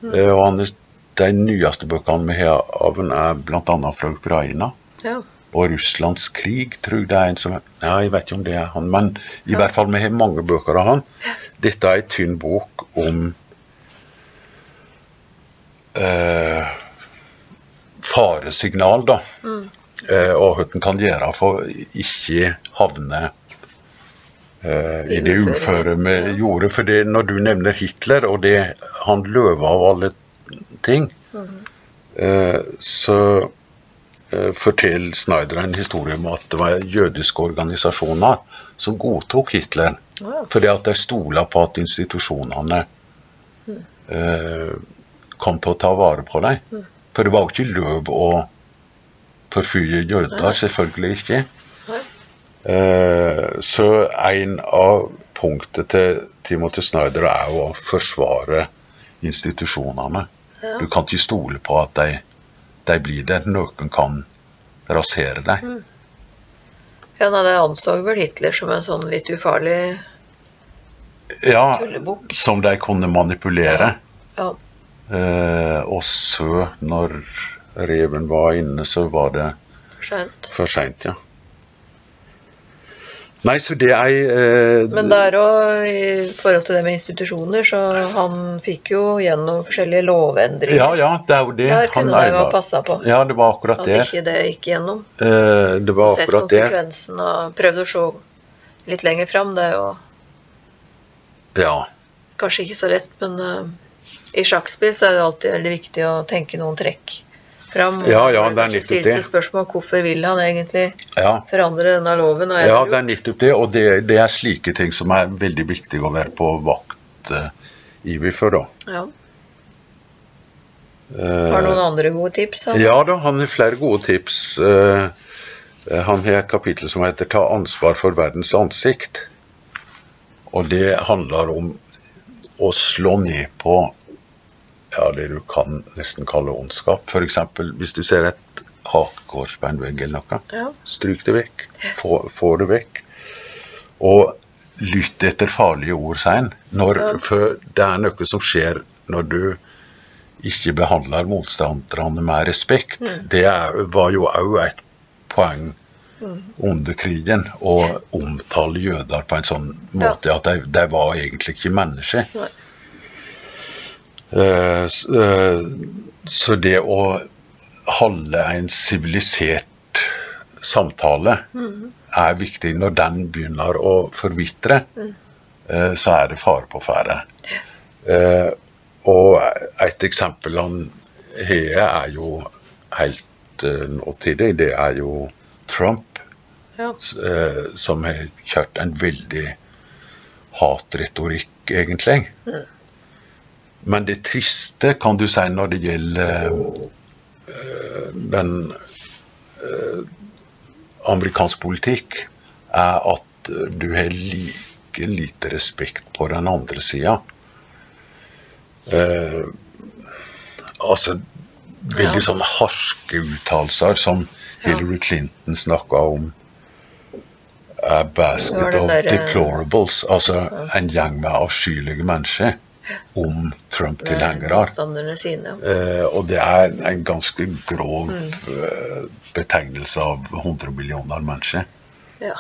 S3: Eh, og han, har- de nyeste bøkene vi har av ham, er bl.a. fra Ukraina
S2: ja.
S3: og Russlands krig, tror jeg det er en som Nei, jeg vet ikke om det er han, men i hvert fall vi har mange bøker av han. Dette er ei tynn bok om eh, faresignal, da. Eh, og hva en kan gjøre for ikke havne eh, i det uføre vi gjorde. For det, når du nevner Hitler, og det han løve av alle ting, eh, så eh, forteller Snyder en historie om at det var jødiske organisasjoner som godtok Hitler,
S2: Wow.
S3: fordi at de stola på at institusjonene eh, kom til å ta vare på
S2: Mm.
S3: dem. For det var jo ikke lov å forfye jøder, selvfølgelig ikke.
S2: Nei.
S3: Eh, så en av punktene til Timothy Snyder er jo å forsvare institusjonene. Du kan ikke stole på at de, de blir det. Noen kan rasere deg.
S2: Mm. Ja, nei, det anså vel Hitler som en sånn litt ufarlig
S3: Ja,
S2: Tullebukk.
S3: som de kunne manipulere.
S2: Ja.
S3: Eh, og så, når reven var inne, så var det
S2: Skjønt.
S3: for seint, ja. Nei, så det er eh,
S2: Men der òg, i forhold til det med institusjoner, så han fikk jo gjennom forskjellige lovendringer.
S3: Ja, ja, det er jo det.
S2: Der kunne de jo
S3: arbeidet-
S2: ha passet på.
S3: Ja, det var akkurat
S2: At
S3: det.
S2: ikke det gikk gjennom.
S3: Eh, det var
S2: Sett
S3: akkurat det.
S2: konsekvensen og prøvd å se litt lenger fram. Det er jo
S3: Ja.
S2: kanskje ikke så lett, men eh, i sjakkspill så er det alltid veldig viktig å tenke noen trekk fram. og
S3: Ja, ja,
S2: kanskje
S3: det er nettopp
S2: stille
S3: det.
S2: seg spørsmål hvorfor vil han egentlig
S3: ja.
S2: forandre denne loven. og er
S3: Ja,
S2: det
S3: det er nettopp det, og det, det er slike ting som er veldig viktig å være på vakt eh, ivrig for, da.
S2: lurt? ja. Har noen andre gode tips? Han?
S3: Eh, Ja da, han har flere gode tips. Eh, Han har et kapittel som heter 'Ta ansvar for verdens ansikt'. Og det handler om å slå ned på ja, det du kan nesten kalle ondskap. F.eks. hvis du ser et hakekors på en vegg eller noe.
S2: Ja.
S3: Stryk det vekk. Få, få det vekk. Og lytt etter farlige ord, sier han. Når- For det er noe som skjer når du ikke behandler motstanderne med respekt. Det er, var jo òg et poeng under krigen å omtale jøder på en sånn måte at de, de var egentlig ikke mennesker.
S2: Nei.
S3: Eh, s- eh, så det å holde en sivilisert samtale er viktig. Når den begynner å forvitre, eh, så er det fare på ferde. Eh, og et eksempel han har, er jo helt eh, nåtidig. Det er jo Trump,
S2: Ja.
S3: s- eh, som har kjørt en veldig hatretorikk, egentlig. Men det triste, kan du si, når det gjelder eh, den eh, amerikansk politikk, er at eh, du har like lite respekt på den andre sida. altså veldig sånne harske uttalelser som Hillary Clinton snakka om. A
S2: Var
S3: basket
S2: den
S3: of
S2: der, eh,
S3: deplorables, altså en gjeng med avskyelige mennesker om Trump-tilhengere.
S2: Motstanderne sine. ja.
S3: Eh, og det er en ganske grov eh, betegnelse av 100 millioner mennesker.
S2: Ja.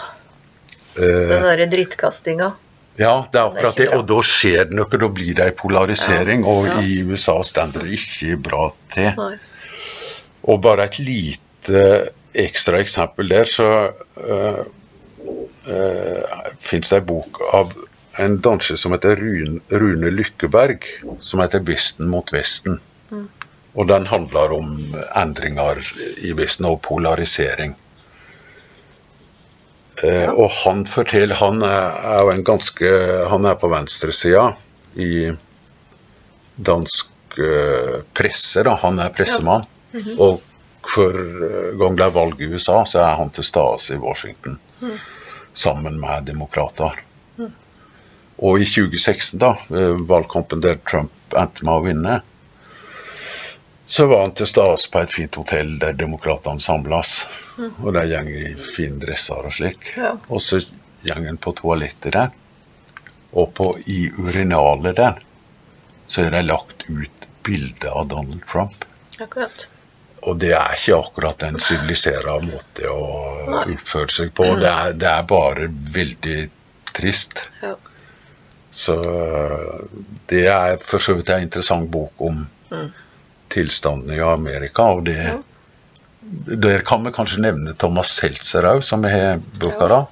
S3: Eh,
S2: Den derre drittkastinga.
S3: ja, det er
S2: er
S3: akkurat
S2: ikke
S3: det. Og da skjer det noe, da blir det en polarisering. Og
S2: ja.
S3: i USA stender det ikke bra til.
S2: Nei.
S3: Og bare et lite ekstra eksempel der, så uh, fins det ei bok av en danser som heter Rune, Rune Lykkeberg, som heter 'Vesten mot Vesten'.
S2: Mm.
S3: Og den handler om endringer i Vesten og polarisering. Eh, Og han forteller Han er, er jo en ganske Han er på venstresida i dansk eh, presse, da. Han er pressemann. Og hver gang det er valg i USA, så er han til stede i Washington sammen med demokrater. Og i 2016, da, eh, valgkampen der Trump endte med å vinne, så var han til stede på et fint hotell der demokratene samles. Og de går i fine dresser og slik.
S2: Ja.
S3: Og så går han på toalettet der. Og på, i urinalet der så er det lagt ut bilde av Donald Trump.
S2: Akkurat.
S3: Og det er ikke akkurat en siviliserende måte å oppføre seg på. Det er, det er bare veldig trist.
S2: Ja.
S3: Så det er for så vidt en interessant bok om tilstanden i Amerika. Og det, der kan vi kanskje nevne Thomas Seltzer òg, som vi har brukt da.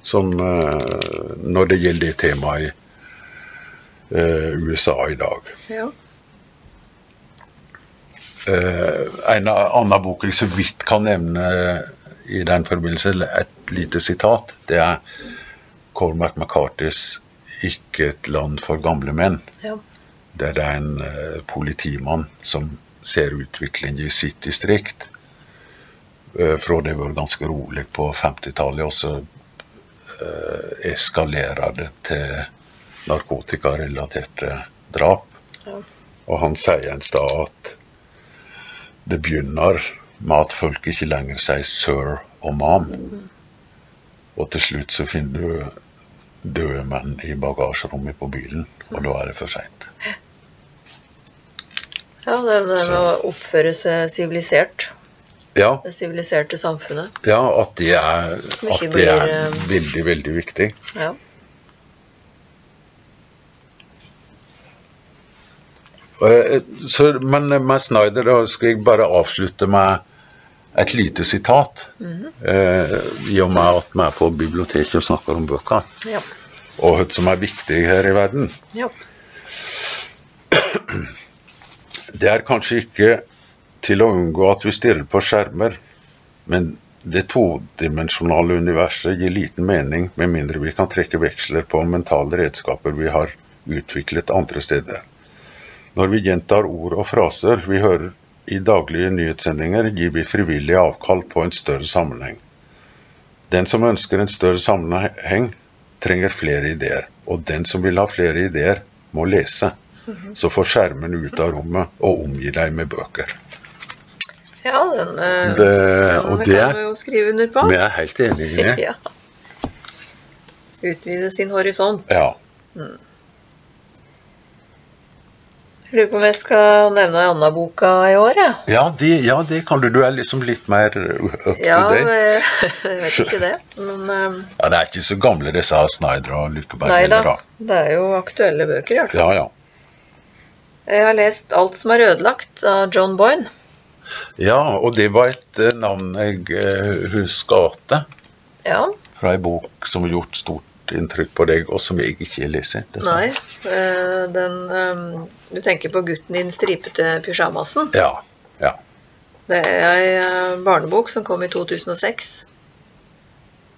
S3: Som eh, når det gjelder det temaet i eh, USA i dag.
S2: Ja.
S3: Eh, en annen bok jeg så vidt kan nevne eh, i den forbindelse, et lite sitat, det er Cormac McCartys 'Ikke et land for gamle menn',
S2: ja.
S3: der det er en eh, politimann som ser utvikling i sitt distrikt. Eh, fra det var ganske rolig på 50-tallet, og så eh, eskalerer det til narkotikarelaterte drap.
S2: Ja.
S3: Og han sier en sted at det begynner med at folk ikke lenger sier sir og mam. Og til slutt så finner du døde menn i bagasjerommet på bilen, og da er det for seint.
S2: Ja, det er det med å oppføre seg sivilisert.
S3: Ja,
S2: Det siviliserte samfunnet.
S3: ja, at det er, at det er veldig, veldig viktig.
S2: Ja.
S3: Eh, Så, men med Snyder da skal jeg bare avslutte med et lite sitat. eh, I og med at vi er på biblioteket og snakker om bøker,
S2: Ja.
S3: og hva som er viktig her i verden.
S2: ja.
S3: Det er kanskje ikke til å unngå at vi stirrer på skjermer, men det todimensjonale universet gir liten mening med mindre vi kan trekke veksler på mentale redskaper vi har utviklet andre steder. Når vi gjentar ord og fraser vi hører i daglige nyhetssendinger, gir vi frivillig avkall på en større sammenheng. Den som ønsker en større sammenheng, trenger flere ideer. Og den som vil ha flere ideer, må lese. Så får skjermen ut av rommet og omgi deg med bøker.
S2: ja den, eh,
S3: Det- og
S2: den
S3: det-
S2: kan vi jo skrive under på.
S3: Vi er helt enige i det.
S2: Ja. Utvide sin horisont.
S3: Ja.
S2: Jeg lurer på om jeg skal nevne ei anna boka i år, jeg.
S3: Ja, det ja, det kan du. Du er liksom litt mer up to
S2: Ja,
S3: date.
S2: jeg vet ikke det. Men eh,
S3: Ja, det er ikke så gamle disse her Snyder og Lykeberg.
S2: nei da.
S3: heller,
S2: Det er jo aktuelle bøker, i hvert fall.
S3: Ja, ja.
S2: Jeg har lest 'Alt som er ødelagt' av John Boyne.
S3: ja, og det var et eh, navn jeg eh, husker igjen.
S2: Ja,
S3: Fra ei bok som har gjort stort inntrykk på deg, og som jeg ikke leser. dessverre.
S2: nei. eh, Den eh, Du tenker på 'Gutten i den stripete pysjamasen'.
S3: Ja. ja.
S2: Det er ei eh, barnebok som kom i 2006.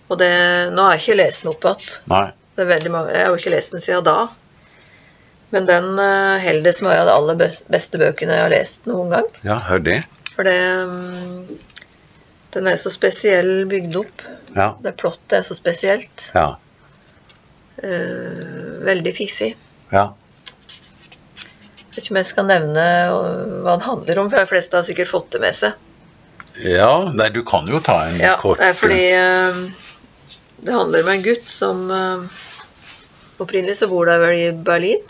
S2: Og det Nå har jeg ikke lest den opp igjen.
S3: Nei.
S2: Det er veldig mange, Jeg har jo ikke lest den siden da. Men den eh, holder det som en av de aller bes- beste bøkene jeg har lest noen gang.
S3: Ja, hør det.
S2: For det mm, Den er så spesiell bygd opp.
S3: Ja.
S2: Det plottet er så spesielt.
S3: Ja.
S2: eh, Veldig fiffig.
S3: Ja.
S2: Jeg vet ikke om jeg skal nevne eh, hva den handler om, for de fleste har sikkert fått det med seg.
S3: ja. Nei, du kan jo ta en
S2: Ja,
S3: kort
S2: det er fordi eh, det handler om en gutt som eh, Opprinnelig så bor de vel i Berlin.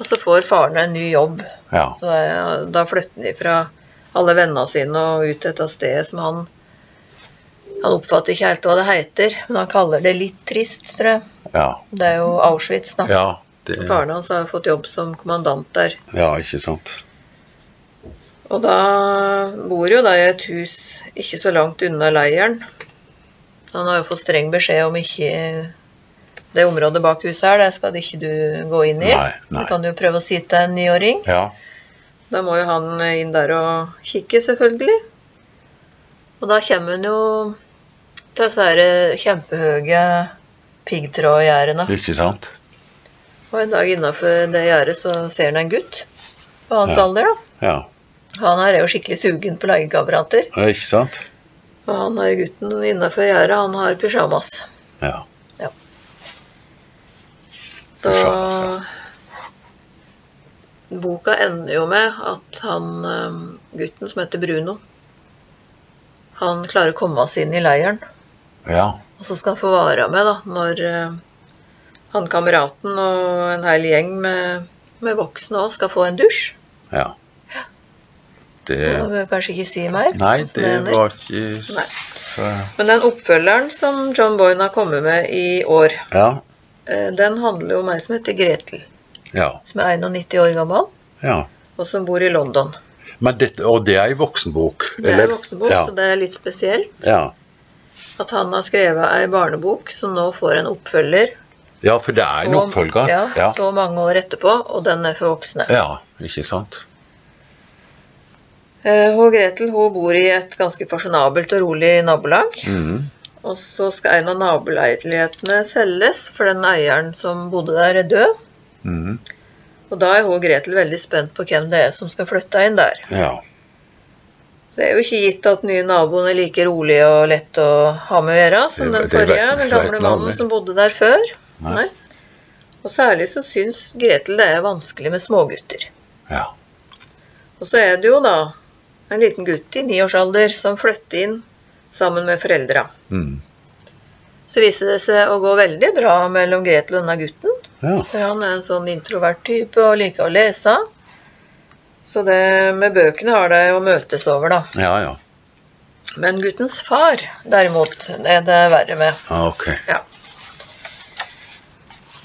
S2: Og så får faren en ny jobb.
S3: Ja.
S2: Så eh, da flytter han ifra alle vennene sine og ut til dette stedet som han Han oppfatter ikke helt hva det heter, men han kaller det litt trist, tror jeg.
S3: Ja.
S2: Det er jo Auschwitz, da.
S3: Ja, det,
S2: Faren hans har fått jobb som kommandant der.
S3: ja, ikke sant.
S2: Og da bor jo da i et hus ikke så langt unna leiren. Han har jo fått streng beskjed om ikke Det området bak huset her, det skal ikke du gå inn i.
S3: Nei, nei.
S2: Du kan jo prøve å si til en niåring.
S3: Ja.
S2: Da må jo han inn der og kikke, selvfølgelig. Og da kommer han jo til disse her kjempehøye piggtrådgjerdene.
S3: Ikke sant?
S2: Og en dag innafor det gjerdet så ser han en gutt på hans
S3: Ja.
S2: alder, da.
S3: Ja.
S2: Han her er jo skikkelig sugen på lagekamerater.
S3: Ja, Ikke sant?
S2: Og han her gutten innafor gjerdet, han har pysjamas.
S3: Ja.
S2: Så
S3: Pysjamas, ja.
S2: boka ender jo med at han øhm, gutten som heter Bruno, han klarer å komme seg inn i leiren.
S3: Ja.
S2: Og så skal han få vare med da, når øhm, han kameraten og en hel gjeng med, med voksne òg skal få en dusj.
S3: ja.
S2: Det
S3: Det
S2: bør jeg kanskje ikke si mer.
S3: Nei,
S2: hvordan
S3: det
S2: ender.
S3: var ikke
S2: Nei.
S3: s-
S2: Men den oppfølgeren som John Boyne har kommet med i år,
S3: Ja.
S2: eh, den handler jo om ei som heter Gretel.
S3: Ja.
S2: som er 91 år gammel,
S3: ja.
S2: og som bor i London.
S3: Men dette, og det er ei voksenbok?
S2: Det er
S3: eller?
S2: en voksenbok,
S3: ja.
S2: så det er litt spesielt
S3: Ja.
S2: at han har skrevet ei barnebok som nå får en oppfølger.
S3: ja, for det er en
S2: så-
S3: oppfølger.
S2: Ja,
S3: Ja.
S2: Så mange år etterpå, og den er for voksne.
S3: ja. Ikke sant?
S2: Eh, Hun Gretel hun bor i et ganske fasjonabelt og rolig nabolag.
S3: Mhm.
S2: Og så skal en av naboleilighetene selges, for den eieren som bodde der, er død.
S3: Mhm.
S2: Og da er hun Gretel veldig spent på hvem det er som skal flytte inn der.
S3: Ja.
S2: Det er jo ikke gitt at den nye naboen er like rolig og lett å ha med å gjøre som
S3: Det-
S2: den
S3: det vet-
S2: forrige, den
S3: vet
S2: gamle
S3: man
S2: mannen
S3: aldri.
S2: som bodde der før. Nei. Og særlig så syns Gretel det er vanskelig med smågutter.
S3: Ja.
S2: Og så er det jo da en
S3: Mm.
S2: liten gutt i niårsalder som flytter inn sammen med foreldra. Så viste det seg å gå veldig bra mellom Gretel og denne gutten.
S3: Ja.
S2: For han er en sånn introvert type og liker å lese. Så det med bøkene har de å møtes over, da.
S3: ja, ja.
S2: Men guttens far, derimot, det er det verre med.
S3: Ja, ok.
S2: Ja.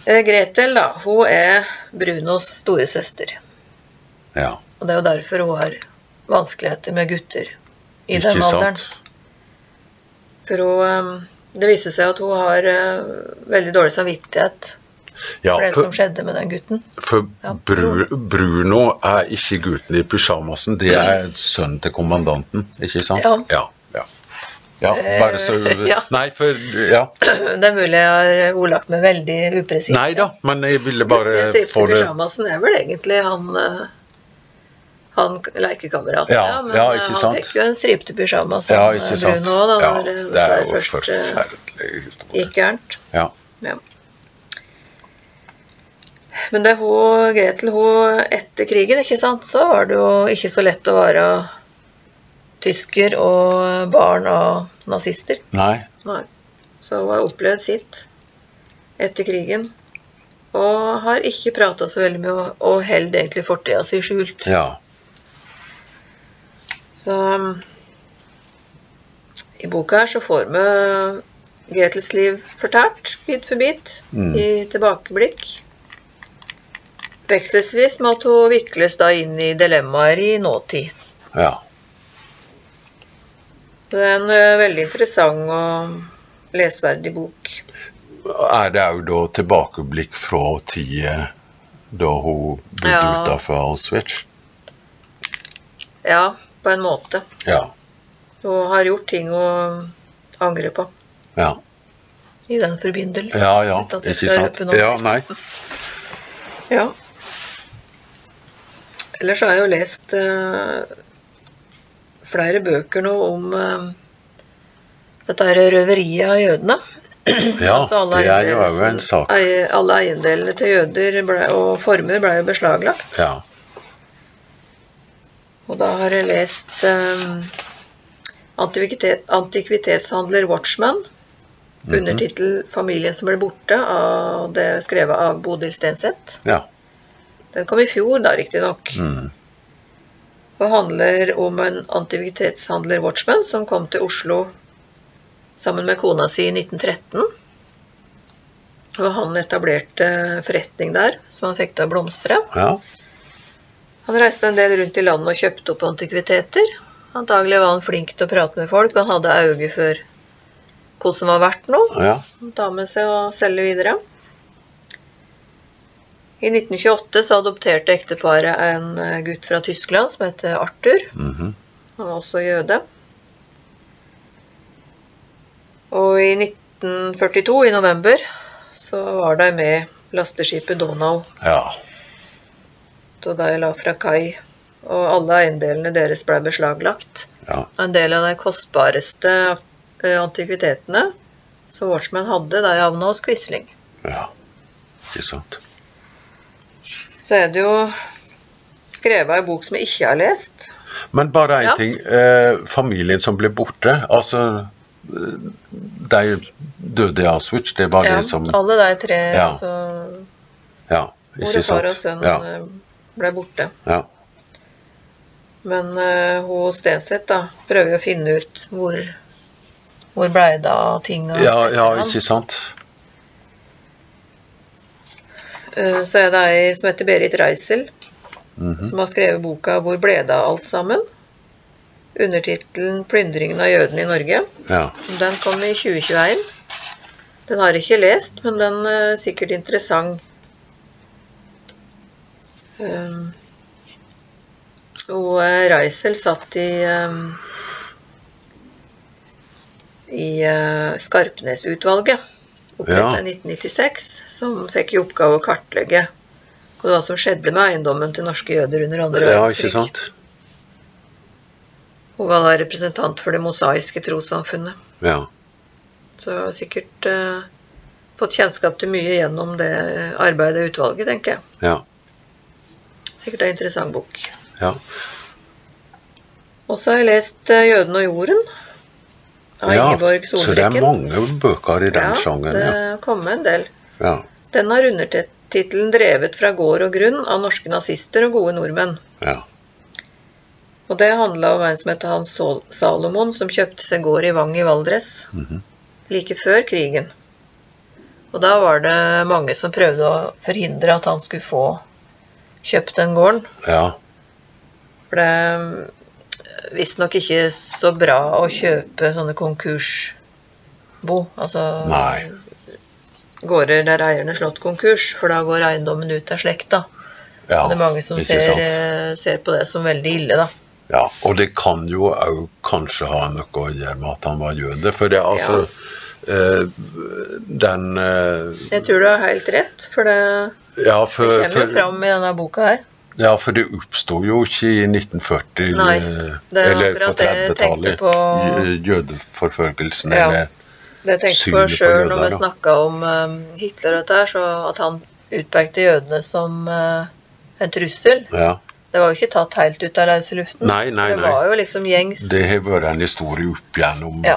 S2: Eh, Gretel, da, hun er Brunos storesøster.
S3: Ja.
S2: Og det er jo derfor hun har vanskeligheter med gutter i
S3: Ikke
S2: den alderen.
S3: sant?
S2: For hun eh, Det viste seg at hun har eh, veldig dårlig samvittighet
S3: Ja,
S2: for det som
S3: for,
S2: skjedde med den gutten.
S3: for
S2: Ja.
S3: Bru, Bruno er ikke gutten i pysjamasen, det er sønnen til kommandanten, ikke sant?
S2: Ja.
S3: Ja, ja. Ja, bare så
S2: Eh, ja.
S3: Nei, for Ja.
S2: Det er mulig jeg har ordlagt meg veldig upresist.
S3: Nei da, men jeg ville
S2: Jeg
S3: bare
S2: sier
S3: få
S2: til
S3: det
S2: Pyjamasen er vel egentlig han eh, han k- lekekameraten,
S3: Ja,
S2: men
S3: ja,
S2: eh,
S3: ikke
S2: han
S3: sant?
S2: fikk jo en stripete pysjamas
S3: Ja,
S2: av, eh,
S3: ikke sant?
S2: Bruno òg, da,
S3: Ja,
S2: når eh,
S3: det er jo
S2: først eh,
S3: forferdelig historie.
S2: gikk gærent.
S3: Ja.
S2: Ja. Men det er hun, Gretel, hun etter krigen, ikke sant, så var det jo ikke så lett å være tysker og barn av nazister.
S3: Nei.
S2: Nei. Så hun har opplevd sitt etter krigen. Og har ikke prata så veldig mye, og- og holder egentlig fortida si skjult.
S3: Ja.
S2: Så um, i boka her så får vi Gretels liv fortalt, bit for bit, i tilbakeblikk. Vekselvis med at hun vikles da inn i dilemmaer i nåtid.
S3: Ja.
S2: Det er en ø, veldig interessant og lesverdig bok.
S3: Er det òg da tilbakeblikk fra tida da hun bodde
S2: Ja.
S3: utenfor Auschwitz?
S2: Ja, på en måte.
S3: Ja.
S2: Hun har gjort ting hun angrer på
S3: Ja.
S2: i den forbindelse.
S3: Ja, ja,
S2: uten at jeg
S3: ikke
S2: skal
S3: sant.
S2: røpe noe.
S3: Ja, nei.
S2: Ja. Ellers har jeg jo lest eh, flere bøker nå om eh, dette her røveriet av jødene.
S3: Ja,
S2: Altså alle
S3: det er jo
S2: eiendelsen-
S3: òg en sak.
S2: ei- Alle eiendelene til jøder ble, og formuer ble jo beslaglagt.
S3: Ja.
S2: Og da har jeg lest eh, antikvitet, antikvitetshandler Watchman. Undertittel 'Familien som ble borte', av det er skrevet av Bodil Stenseth.
S3: ja.
S2: Den kom i fjor, da, riktignok.
S3: Mm.
S2: Og handler om en antikvitetshandler Watchman som kom til Oslo sammen med kona si i 1913. Og han etablerte forretning der, som han fikk til å blomstre.
S3: ja.
S2: Han reiste en del rundt i landet og kjøpte opp antikviteter. Antagelig var han flink til å prate med folk, og han hadde øye for hva som var verdt noe.
S3: ja.
S2: Han tar med seg og selger videre. I 1928 så adopterte ekteparet en eh, gutt fra Tyskland som heter Arthur.
S3: Mhm.
S2: Han var også jøde. Og i 1942, i november, så var de med lasteskipet Donau
S3: ja.
S2: da de la fra kai, og alle eiendelene deres ble beslaglagt.
S3: Ja.
S2: En del av de kostbareste eh, antikvitetene som Watchman hadde, de havna hos Quisling.
S3: Ja. Ikke sant.
S2: Så er det jo skrevet en bok som jeg ikke har lest.
S3: Men bare én
S2: Ja.
S3: ting. Eh, familien som ble borte, altså eh, De døde i Auschwitz, det var
S2: Ja,
S3: det som
S2: alle de tre,
S3: Ja,
S2: altså
S3: Ja,
S2: mor
S3: ikke
S2: og far og
S3: sant.
S2: sønn,
S3: Ja,
S2: eh, ble borte.
S3: ja.
S2: Men eh, hun Stenseth da, prøver jo å finne ut hvor, hvor ble det av ting. og-
S3: ja, ja, ikke sant.
S2: Eh, Så er det ei som heter Berit Reisel, som har skrevet boka 'Hvor ble det av alt sammen?' Undertittelen 'Plyndringen av jødene i Norge'.
S3: Ja.
S2: Den kom i 2021. Den har jeg ikke lest, men den er sikkert interessant. Um, og eh, Reisel satt i um, i eh, Skarpnes-utvalget, opprettet
S3: Ja.
S2: i 1996, som fikk i oppgave å kartlegge hva det var som skjedde med eiendommen til norske jøder under andre
S3: ja, ikke sant.
S2: Hun var da representant for det mosaiske trossamfunnet.
S3: Ja.
S2: Så jeg har sikkert eh, fått kjennskap til mye gjennom det arbeidet i utvalget, tenker jeg.
S3: Ja.
S2: Sikkert en interessant bok.
S3: ja.
S2: Og så har jeg lest eh, 'Jøden og jorden' av Ingeborg
S3: så det er
S2: Solbekken.
S3: mange bøker i den sjangeren.
S2: det
S3: Ja.
S2: har kommet en del.
S3: Ja.
S2: Den har undertittelen 'Drevet fra gård og grunn' av norske nazister og gode nordmenn.
S3: Ja.
S2: Og det handla om en som het Hans Sol- Salomon, som kjøpte seg gård i Vang i Valdres
S3: Mhm.
S2: like før krigen. Og da var det mange som prøvde å forhindre at han skulle få kjøpt den gården.
S3: ja.
S2: For det er visstnok ikke så bra å kjøpe sånne konkursbo. Altså
S3: Nei.
S2: gårder der eieren er slått konkurs, for da går eiendommen ut av slekta.
S3: ja.
S2: det er mange som
S3: Ikke
S2: ser,
S3: sant?
S2: eh, ser på det som veldig ille, da.
S3: Ja, og det kan jo òg kanskje ha noe å gjøre med at han var jøde. For det er altså eh, Den eh,
S2: Jeg tror du har helt rett, for det,
S3: ja,
S2: det
S3: for,
S2: kommer jo
S3: Eh, for,
S2: fram i denne boka her.
S3: ja, for det oppsto jo ikke i 1940
S2: Nei,
S3: eh,
S2: det er
S3: eller på
S2: akkurat det jeg tenkte
S3: 30-tallet.
S2: på.
S3: j- Jødeforfølgelsen
S2: Ja.
S3: eller
S2: Det tenkte jeg
S3: Synet
S2: på
S3: på
S2: sjøl
S3: jøder,
S2: når vi
S3: da.
S2: snakka om eh, Hitler og dette her, så at han utpekte jødene som eh, en trussel.
S3: Ja.
S2: Det var jo ikke tatt helt ut av løse luften.
S3: Nei, nei,
S2: Det
S3: nei.
S2: var jo liksom gjengs
S3: Det har vært en historie opp gjennom
S2: Ja.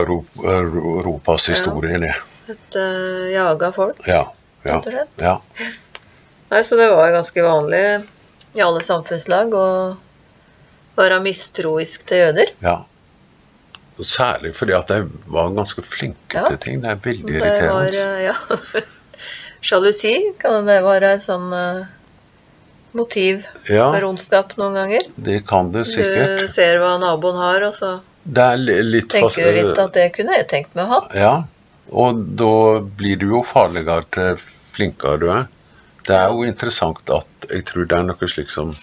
S3: Europ- Euro- Europas historie. det.
S2: Et eh, jaga folk.
S3: Ja. Ja.
S2: Rett og slett.
S3: ja.
S2: Nei, så det var jo ganske vanlig i alle samfunnslag å være mistroisk til jøder.
S3: ja. Særlig fordi at de var ganske flinke
S2: Ja.
S3: til ting. Det er veldig
S2: Det var,
S3: irriterende.
S2: eh, ja. Sjalusi kan det være et sånn eh, motiv
S3: Ja.
S2: for ondskap noen ganger.
S3: Det kan det
S2: Du
S3: sikkert.
S2: ser hva naboen har, og så
S3: Det er li- litt fas-
S2: tenker du litt at det kunne jeg tenkt meg å hatt.
S3: Ja. Og da blir du jo farligere til flinkere du er. Det er jo interessant at jeg tror det er noe slikt som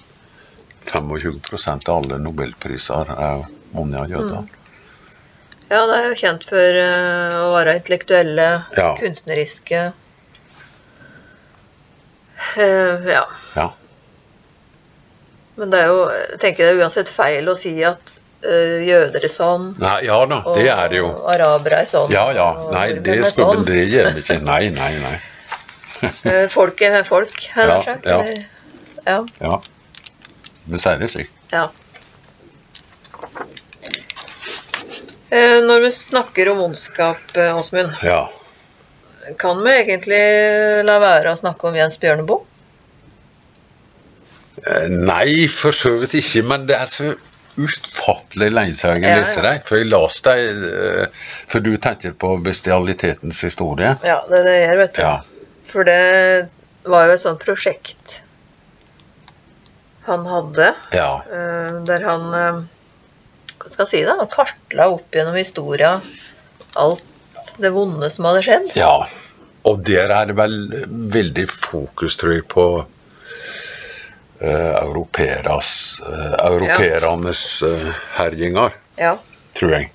S3: 25 av alle nobelpriser er vunnet av
S2: Mm.
S3: jøder.
S2: Ja, det er jo kjent for eh, å være intellektuelle,
S3: Ja.
S2: kunstneriske Eh, Ja.
S3: Ja.
S2: Men det er jo, jeg tenker det er uansett feil å si at eh, jøder er sånn,
S3: Nei, ja da,
S2: og
S3: det er det jo.
S2: arabere er sånn.
S3: Ja ja.
S2: og
S3: Nei,
S2: nordmenn
S3: det
S2: er
S3: skulle
S2: sånn.
S3: det gjør vi ikke. Nei, nei, nei.
S2: Eh, Folk er folk, har jeg
S3: Ja,
S2: nær sagt.
S3: ja.
S2: eller- Ja.
S3: Ja. Men så er det slik.
S2: ja. Eh, Når vi snakker om ondskap, eh, Åsmund,
S3: Ja.
S2: kan vi egentlig la være å snakke om Jens Bjørneboe?
S3: Eh, Nei, for så vidt ikke, men det er så ufattelig lenge siden
S2: Ja,
S3: jeg leser
S2: ja.
S3: deg. For jeg las deg eh, For du tenker på bestialitetens historie?
S2: Ja, det er det jeg gjør, vet du.
S3: Ja.
S2: For det var jo et sånt prosjekt han hadde.
S3: Ja.
S2: Eh, der han eh, Hva skal jeg si, da? Han kartla opp gjennom historia alt det vonde som hadde skjedd.
S3: ja. Og der er det vel veldig fokus, tror jeg, på eh, europeeras eh, Europeernes eh, herjinger,
S2: Ja.
S3: tror jeg.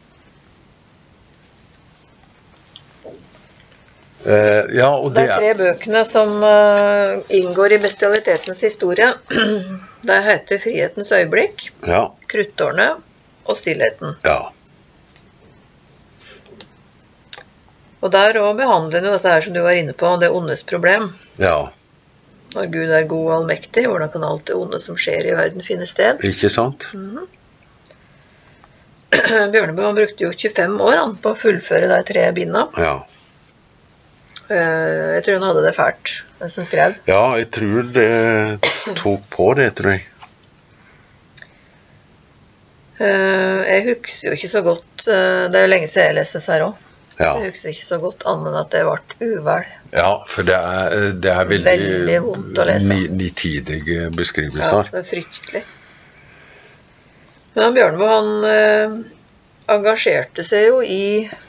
S3: Eh, ja, og
S2: Det
S3: det
S2: er tre bøkene som eh, inngår i bestialitetens historie. det heter 'Frihetens øyeblikk',
S3: Ja.
S2: 'Kruttårnet' og 'Stillheten'.
S3: ja.
S2: Og der òg behandler han jo dette her som du var inne på, det ondes problem.
S3: Ja.
S2: Når Gud er god og allmektig, hvordan kan alt det onde som skjer i verden, finne sted?
S3: Ikke sant?
S2: Mm. Bjørneboe han brukte jo 25 år han, på å fullføre de tre binda.
S3: Ja.
S2: Eh, Jeg tror han hadde det fælt, den som skrev.
S3: Ja, jeg tror det tok på det, tror jeg.
S2: Eh, Jeg husker jo ikke så godt eh, Det er jo lenge siden jeg leste disse her òg.
S3: Ja,
S2: Jeg husker ikke så godt annet enn at det ble uvel.
S3: ja for det er, det er veldig,
S2: Veldig vondt å lese.
S3: ni- nitidige
S2: Ja,
S3: beskrivelser.
S2: det er fryktelig. Men han Bjørneboe, han eh, engasjerte seg jo i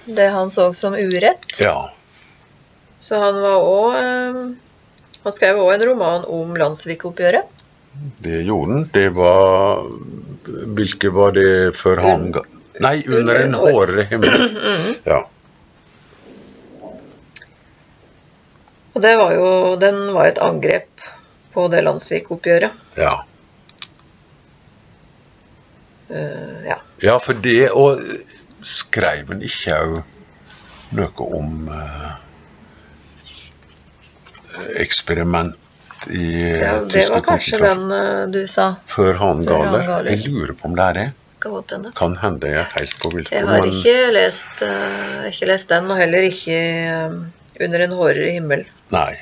S2: det han så som urett.
S3: Ja.
S2: Så han var òg Han skrev òg en roman om landssvikoppgjøret.
S3: det gjorde han. Det var Hvilke var det før han ga Nei, under en
S2: Under
S3: hårhimmel. Ja.
S2: Og det var jo, den var et angrep på det landssvikoppgjøret.
S3: ja.
S2: Eh, ja.
S3: Ja, for det Og skrev han ikke òg noe om eh, eksperiment i
S2: Ja,
S3: tyske
S2: det var kanskje
S3: konsentrasjon-
S2: den eh, du sa.
S3: Før hanen
S2: Før
S3: galer.
S2: hanen galer.
S3: Jeg lurer på om det er det.
S2: Kan godt hende.
S3: Kan hende jeg er helt på vilkår,
S2: Jeg har ikke lest, eh, ikke lest den, og heller ikke eh, Under en hårere himmel.
S3: Nei.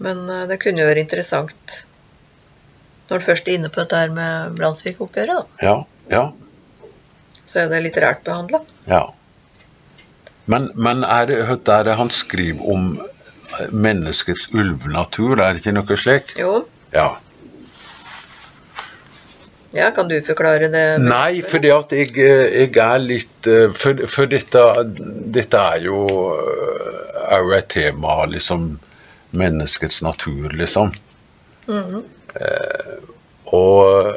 S2: Men eh, det kunne jo være interessant når en først er inne på dette her med Landsvik-oppgjøret, da.
S3: Ja. Ja.
S2: Så er det litterært behandla.
S3: Ja. Men, men er det hva er det han skriver om eh, menneskets ulvenatur, er det ikke noe slik?
S2: Jo.
S3: Ja.
S2: Ja, kan du forklare det?
S3: Nei, fordi at jeg, jeg er litt eh, For, for dette, dette er jo eh, er jo et tema, liksom Menneskets natur, liksom.
S2: Mm-hmm.
S3: eh, og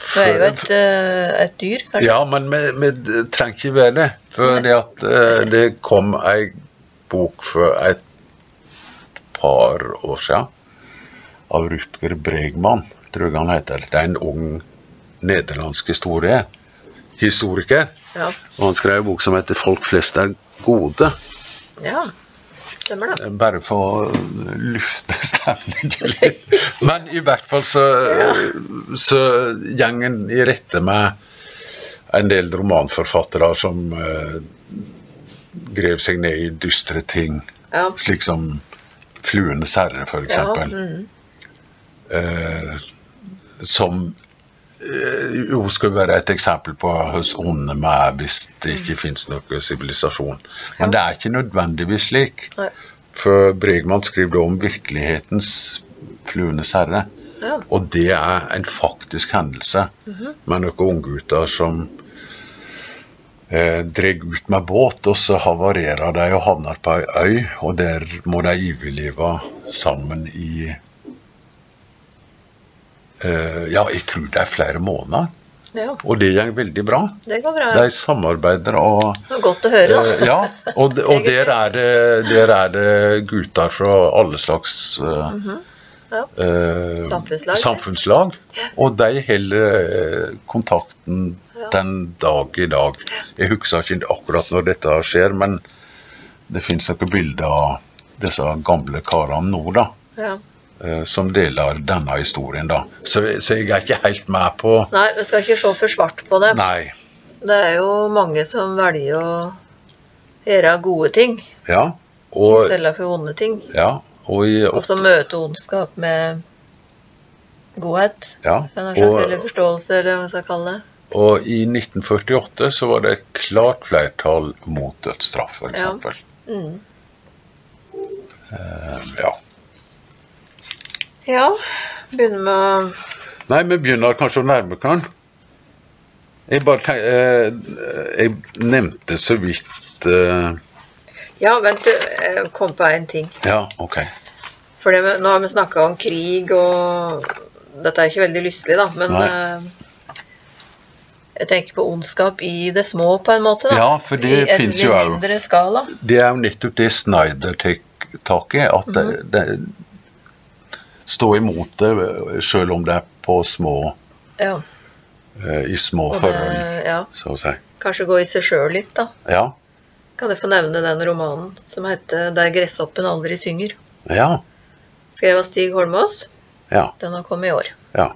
S2: Det er jo et, eh, et dyr, kanskje?
S3: Ja, men vi, vi trenger ikke være det. Fordi at eh, det kom ei bok for et par år siden av Rutger Bregman, tror jeg han heter. Det er en ung nederlandsk historie, historiker.
S2: Ja.
S3: Og han skrev en bok som heter 'Folk flest er gode'.
S2: ja. Stemmer det.
S3: Bare for å lufte stemningen litt. Men i hvert fall så, så gjengen i rette med en del romanforfattere som eh, grev seg ned i dystre ting.
S2: Ja.
S3: Slik som 'Fluenes herre', for eksempel. Eh, som eh, jo skulle være et eksempel på hvordan onde vi er hvis det ikke finnes noe sivilisasjon. Men det er ikke nødvendigvis slik.
S2: Nei.
S3: For Bregman skriver da om virkelighetens fluenes herre.
S2: Ja.
S3: Og det er en faktisk hendelse med noen unggutter som eh, dreg ut med båt, og så havarerer de og havner på ei øy, og der må de overleve sammen i eh, Ja, jeg tror det er flere måneder.
S2: Ja.
S3: Og det går veldig bra.
S2: Det går bra.
S3: De samarbeider og
S2: Det var godt å høre, da.
S3: Eh, ja, og, d- og der, er det, der er det gutter fra alle slags eh,
S2: Mhm, Ja.
S3: eh,
S2: Samfunnslag.
S3: samfunnslag, og de holder eh, kontakten den dag i dag. Jeg husker ikke akkurat når dette skjer, men det finnes noen bilder av disse gamle karene nå, da,
S2: Ja.
S3: eh, som deler denne historien. da. Så, så jeg er ikke helt med på
S2: Nei, vi skal ikke se for svart på det.
S3: Nei.
S2: Det er jo mange som velger å gjøre gode ting
S3: Ja. Og,
S2: i stedet for vonde ting.
S3: ja, og i
S2: Og så møte ondskap med godhet.
S3: Ja,
S2: Eller noe slags-
S3: og-
S2: Eller forståelse, eller hva man skal kalle det.
S3: Og i 1948 så var det et klart flertall mot dødsstraff, f.eks.
S2: Ja. Mm.
S3: Ja. Ehm, ja.
S2: Ja, begynner med
S3: Nei, vi begynner kanskje å nærme oss. Jeg bare tenk, eh, Jeg nevnte så vidt eh,
S2: Ja, vent, du. Jeg kom på én ting.
S3: Ja, OK.
S2: For det, med- nå har vi snakka om krig og Dette er ikke veldig lystelig, da, men
S3: Nei.
S2: eh, Jeg tenker på ondskap i det små, på en måte. da.
S3: Ja, for det
S2: I en
S3: finnes jo
S2: litt
S3: også.
S2: mindre skala.
S3: Det er jo nettopp det Snyder tar tak i.
S2: Mhm.
S3: At det, det Stå imot det sjøl om det er på små
S2: Ja.
S3: eh, I små
S2: Og
S3: forhold,
S2: det, ja.
S3: så å si.
S2: Kanskje gå i seg sjøl litt, da.
S3: Ja.
S2: Kan jeg få nevne den romanen som heter 'Der gresshoppen aldri synger'?
S3: Ja.
S2: Skrevet av Stig Holmås.
S3: Ja.
S2: Den har kommet i år.
S3: ja.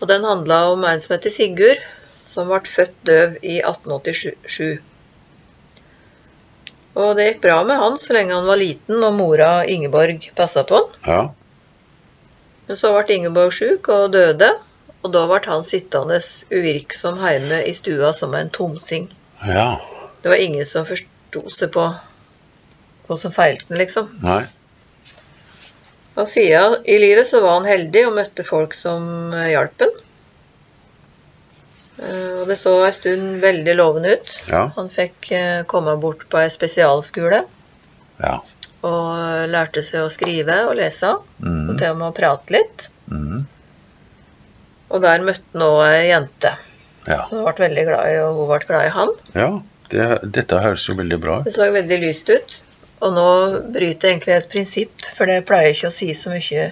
S2: Og den handla om en som heter Sigurd, som ble født døv i 1887. Og det gikk bra med han så lenge han var liten og mora Ingeborg passa på han.
S3: ja.
S2: Men så ble Ingeborg sjuk og døde, og da ble han sittende uvirksom hjemme i stua som en tomsing.
S3: Ja,
S2: Det var ingen som forsto seg på hva som feilte han, liksom.
S3: nei.
S2: Og siden i livet så var han heldig og møtte folk som eh, hjalp han. Eh, Og det så en stund veldig lovende ut.
S3: Ja.
S2: Han fikk eh, komme bort på ei spesialskole
S3: Ja.
S2: og eh, lærte seg å skrive og lese. Og til og med å prate litt.
S3: Mhm.
S2: Og der møtte han òg ei jente
S3: Ja.
S2: som ble veldig glad i, og hun ble glad i han.
S3: ja det, dette høres jo veldig bra ut.
S2: Det så veldig lyst ut. Og nå bryter jeg egentlig et prinsipp, for det pleier ikke å si så mye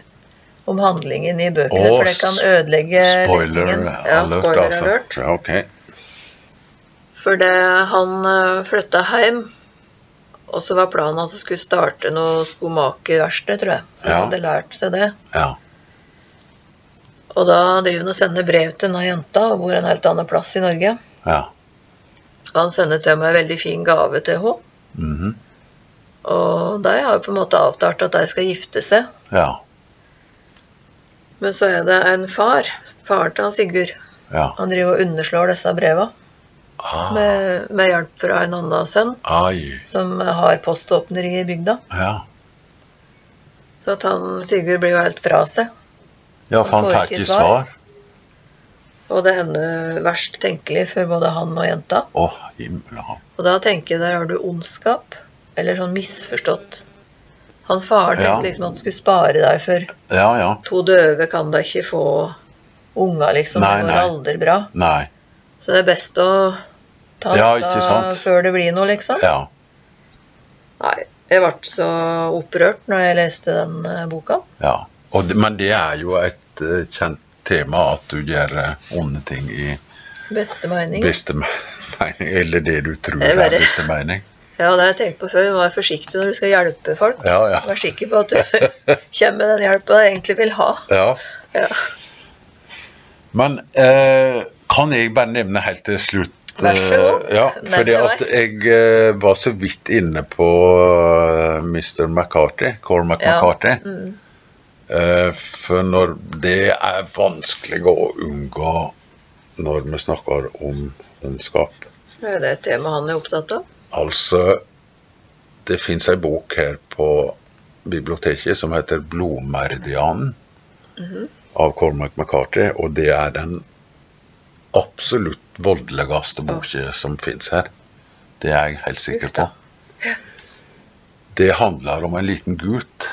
S2: om handlingen i bøkene,
S3: Å,
S2: for det kan ødelegge
S3: Spoiler
S2: lesingen.
S3: alert,
S2: Ja, spoiler
S3: altså.
S2: alert.
S3: Ja, ok.
S2: For det, han eh, flytta hjem, og så var planen at han skulle starte noe skomakerverksted, tror jeg. Han
S3: Ja.
S2: hadde lært seg det.
S3: Ja.
S2: Og da driver han og sender brev til denne jenta, og bor en helt annen plass i Norge.
S3: Ja.
S2: Og han sender til meg en veldig fin gave til henne.
S3: Mhm.
S2: Og de har jo på en måte avtalt at de skal gifte seg.
S3: Ja.
S2: Men så er det en far, faren til han Sigurd,
S3: Ja.
S2: han driver og underslår disse breva
S3: Ah.
S2: med, med hjelp fra en annen sønn
S3: Ai.
S2: som har poståpneri i bygda.
S3: Ja.
S2: Så at han Sigurd blir jo helt fra seg.
S3: ja, for han
S2: får
S3: fikk
S2: ikke
S3: ikke
S2: svar.
S3: svar.
S2: Og det ender verst tenkelig for både han og jenta.
S3: Å, himla.
S2: Og da tenker jeg der har du ondskap, eller sånn misforstått. Han faren
S3: Ja.
S2: tenkte liksom at han skulle spare deg for
S3: Ja, ja.
S2: to døve kan da ikke få unga, liksom.
S3: Nei,
S2: det går
S3: nei.
S2: aldri bra.
S3: Nei.
S2: Så det er best å ta
S3: Ja,
S2: dette
S3: ikke sant.
S2: før det blir noe, liksom.
S3: Ja.
S2: Nei, jeg ble så opprørt når jeg leste den eh, boka.
S3: ja. Og, det- men det er jo et eh, kjent tema at du gjør eh, onde ting i
S2: Beste mening.
S3: beste me- mening, eller det du tror
S2: Det er
S3: er
S2: bare-
S3: beste mening.
S2: Ja, det har jeg tenkt på før. Vær forsiktig når du skal hjelpe folk.
S3: Ja, ja.
S2: Vær sikker på at du kommer med den hjelpa du egentlig vil ha.
S3: Ja.
S2: Ja.
S3: Men eh, kan jeg bare nevne helt til slutt
S2: Vær så god.
S3: eh, Ja,
S2: Nevn
S3: fordi
S2: det
S3: at jeg eh, var så vidt inne på eh, Mr. McCarthy, Cormac
S2: Ja, Mm.
S3: McCarthy. Eh, for når Det er vanskelig å unngå når vi snakker om ondskap.
S2: Det er det et tema han er opptatt av.
S3: Altså, det fins ei bok her på biblioteket som heter 'Blodmeridianen' av Cormac McCarthy, og det er den absolutt voldeligste boka som fins her. Det er jeg helt sikker på. Det handler om en liten gutt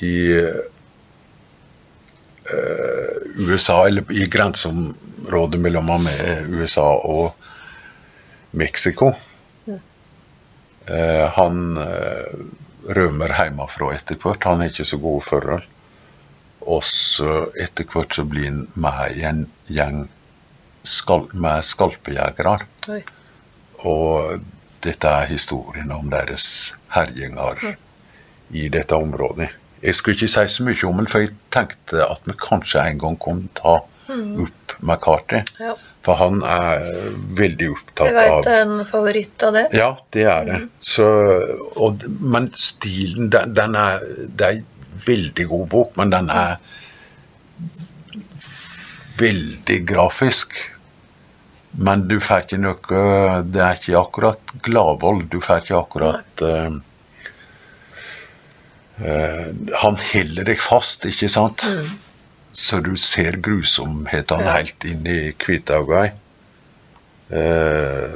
S3: i eh, USA, eller i grenseområdet mellom Amer- USA og Mexico. Eh, han eh, rømmer hjemmefra etter hvert. Han har ikke så gode forhold. Og så etter hvert så blir han med i en gjeng skal, med skalpejegere.
S2: Oi.
S3: Og dette er historien om deres herjinger
S2: Mm.
S3: i dette området. Jeg skulle ikke si så mye om den, for jeg tenkte at vi kanskje en gang kunne ta opp McCarthy.
S2: Mm. Ja.
S3: For han er eh, veldig opptatt
S2: Jeg eh,
S3: av
S2: veit det er en favoritt av det.
S3: ja, det er det. Så, og, d- men stilen, den, den er Det er en veldig god bok, men den er veldig grafisk. Men du får ikke noe Det er ikke akkurat gladvold. Du får ikke akkurat eh, eh, Han holder deg fast, ikke sant? Så du ser grusomhetene helt inn i hvitauga. Eh,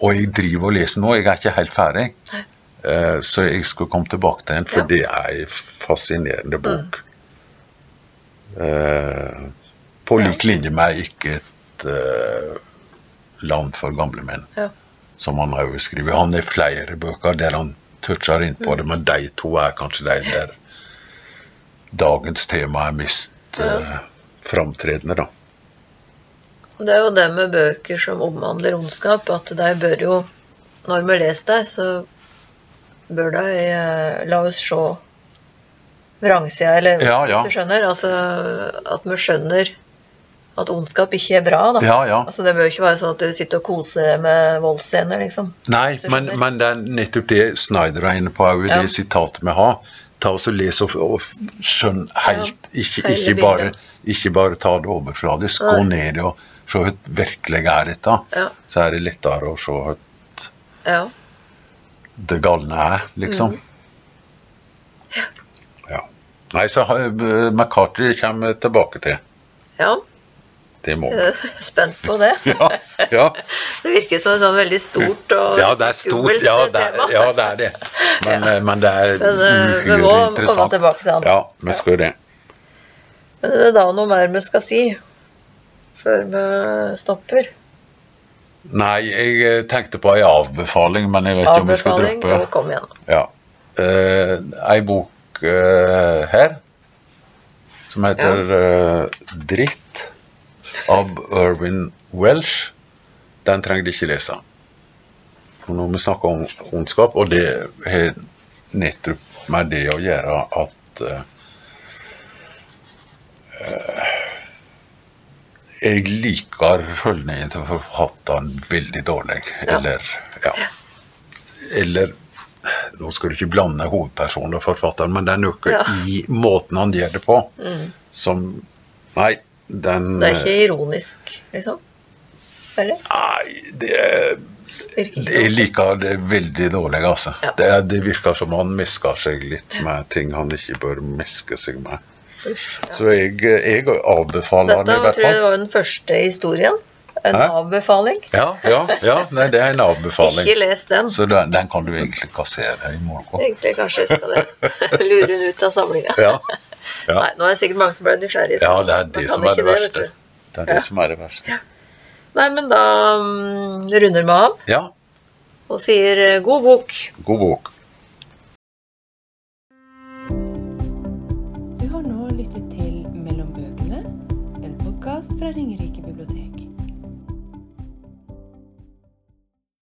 S3: og jeg driver og leser nå, jeg er ikke helt ferdig. Eh, så jeg skal komme tilbake til den, for
S2: Ja.
S3: det er en fascinerende bok. Eh, på lik linje med 'Ikke et eh, land for gamle menn',
S2: Ja.
S3: som han har jo skrevet. Han har flere bøker der han toucher inn på det, men de to er kanskje de der dagens tema er mest eh, framtredende, da.
S2: Og Det er jo det med bøker som omhandler ondskap, at de bør jo Når vi leser dem, så bør de eh, la oss se vrangsida, eller
S3: Ja, ja.
S2: hvis du skjønner? Altså at vi skjønner at ondskap ikke er bra, da.
S3: Ja, ja.
S2: Altså Det bør ikke være sånn at du sitter og koser deg med voldsscener, liksom.
S3: Nei,
S2: Så
S3: men,
S2: skjønner.
S3: men det er nettopp det Snyder er inne på, er jo
S2: Ja.
S3: det sitatet vi har. Ta oss og Les og, og skjønn helt, ikke,
S2: hele
S3: ikke,
S2: bildet.
S3: bare, ikke bare ta det overfladisk. Gå ned og se hva det virkelig er dette.
S2: Ja.
S3: Så er det lettere å se hva
S2: Ja.
S3: det galne er, liksom. Mm. Ja. Nei, så har- eh, McCarthy kommer tilbake til.
S2: ja.
S3: Det må vi.
S2: Jeg er spent på det.
S3: Ja, ja.
S2: Det virker som et sånn veldig stort og
S3: ja, det er stort.
S2: skummelt
S3: Ja, det er,
S2: tema.
S3: ja, det, er det. Men, eh, men det er
S2: Men, eh, vi
S3: uhyre
S2: må komme
S3: interessant.
S2: tilbake til han.
S3: Ja, vi skal det.
S2: Men det er da noe mer vi skal si før vi stopper.
S3: Nei, jeg eh, tenkte på ei avbefaling, men jeg vet ikke om vi skal
S2: Avbefaling og
S3: droppe
S2: kom igjen.
S3: ja. eh, Ei bok eh, her som heter eh, 'Dritt' av Irvin Welsh. Den trenger de ikke lese. For Når vi snakker om ondskap, og det har nettopp med det å gjøre at eh, eh, jeg liker holdningen til forfatteren veldig dårlig.
S2: Ja.
S3: Eller ja. Eller Nå skal du ikke blande hovedpersonen og forfatteren, men det er noe
S2: Ja. Mm.
S3: i måten han gjør det på som Nei, den
S2: Det
S3: eh,
S2: er ikke ironisk, liksom? Eller?
S3: Nei, det er
S2: Virker ikke
S3: jeg
S2: sånn.
S3: liker det veldig dårlig, altså.
S2: Ja.
S3: Det, det virker som han mesker seg litt med ting han ikke bør meske seg med.
S2: Usch, ja.
S3: Så jeg, jeg avbefaler han
S2: Dette
S3: i hvert
S2: tror jeg
S3: fall.
S2: var den første historien. En
S3: Hæ?
S2: avbefaling.
S3: Ja, ja, ja. Nei, det er en avbefaling.
S2: Ikke les den.
S3: Så den, den kan du egentlig kassere i morgen.
S2: Egentlig kanskje jeg skal det. lure den ut av samlinga.
S3: Ja, ja.
S2: Nei, nå er det sikkert mange som ble nysgjerrige.
S3: ja
S2: så
S3: det er
S2: man
S3: det
S2: kan
S3: som er
S2: ikke
S3: det
S2: vet
S3: verste.
S2: du.
S3: Det er det som er det verste.
S2: Nei, men da mm, runder vi av
S3: Ja,
S2: og sier eh, god bok.
S3: god bok.
S1: Du har nå lyttet til Mellom bøkene, en podkast fra Ringerike bibliotek.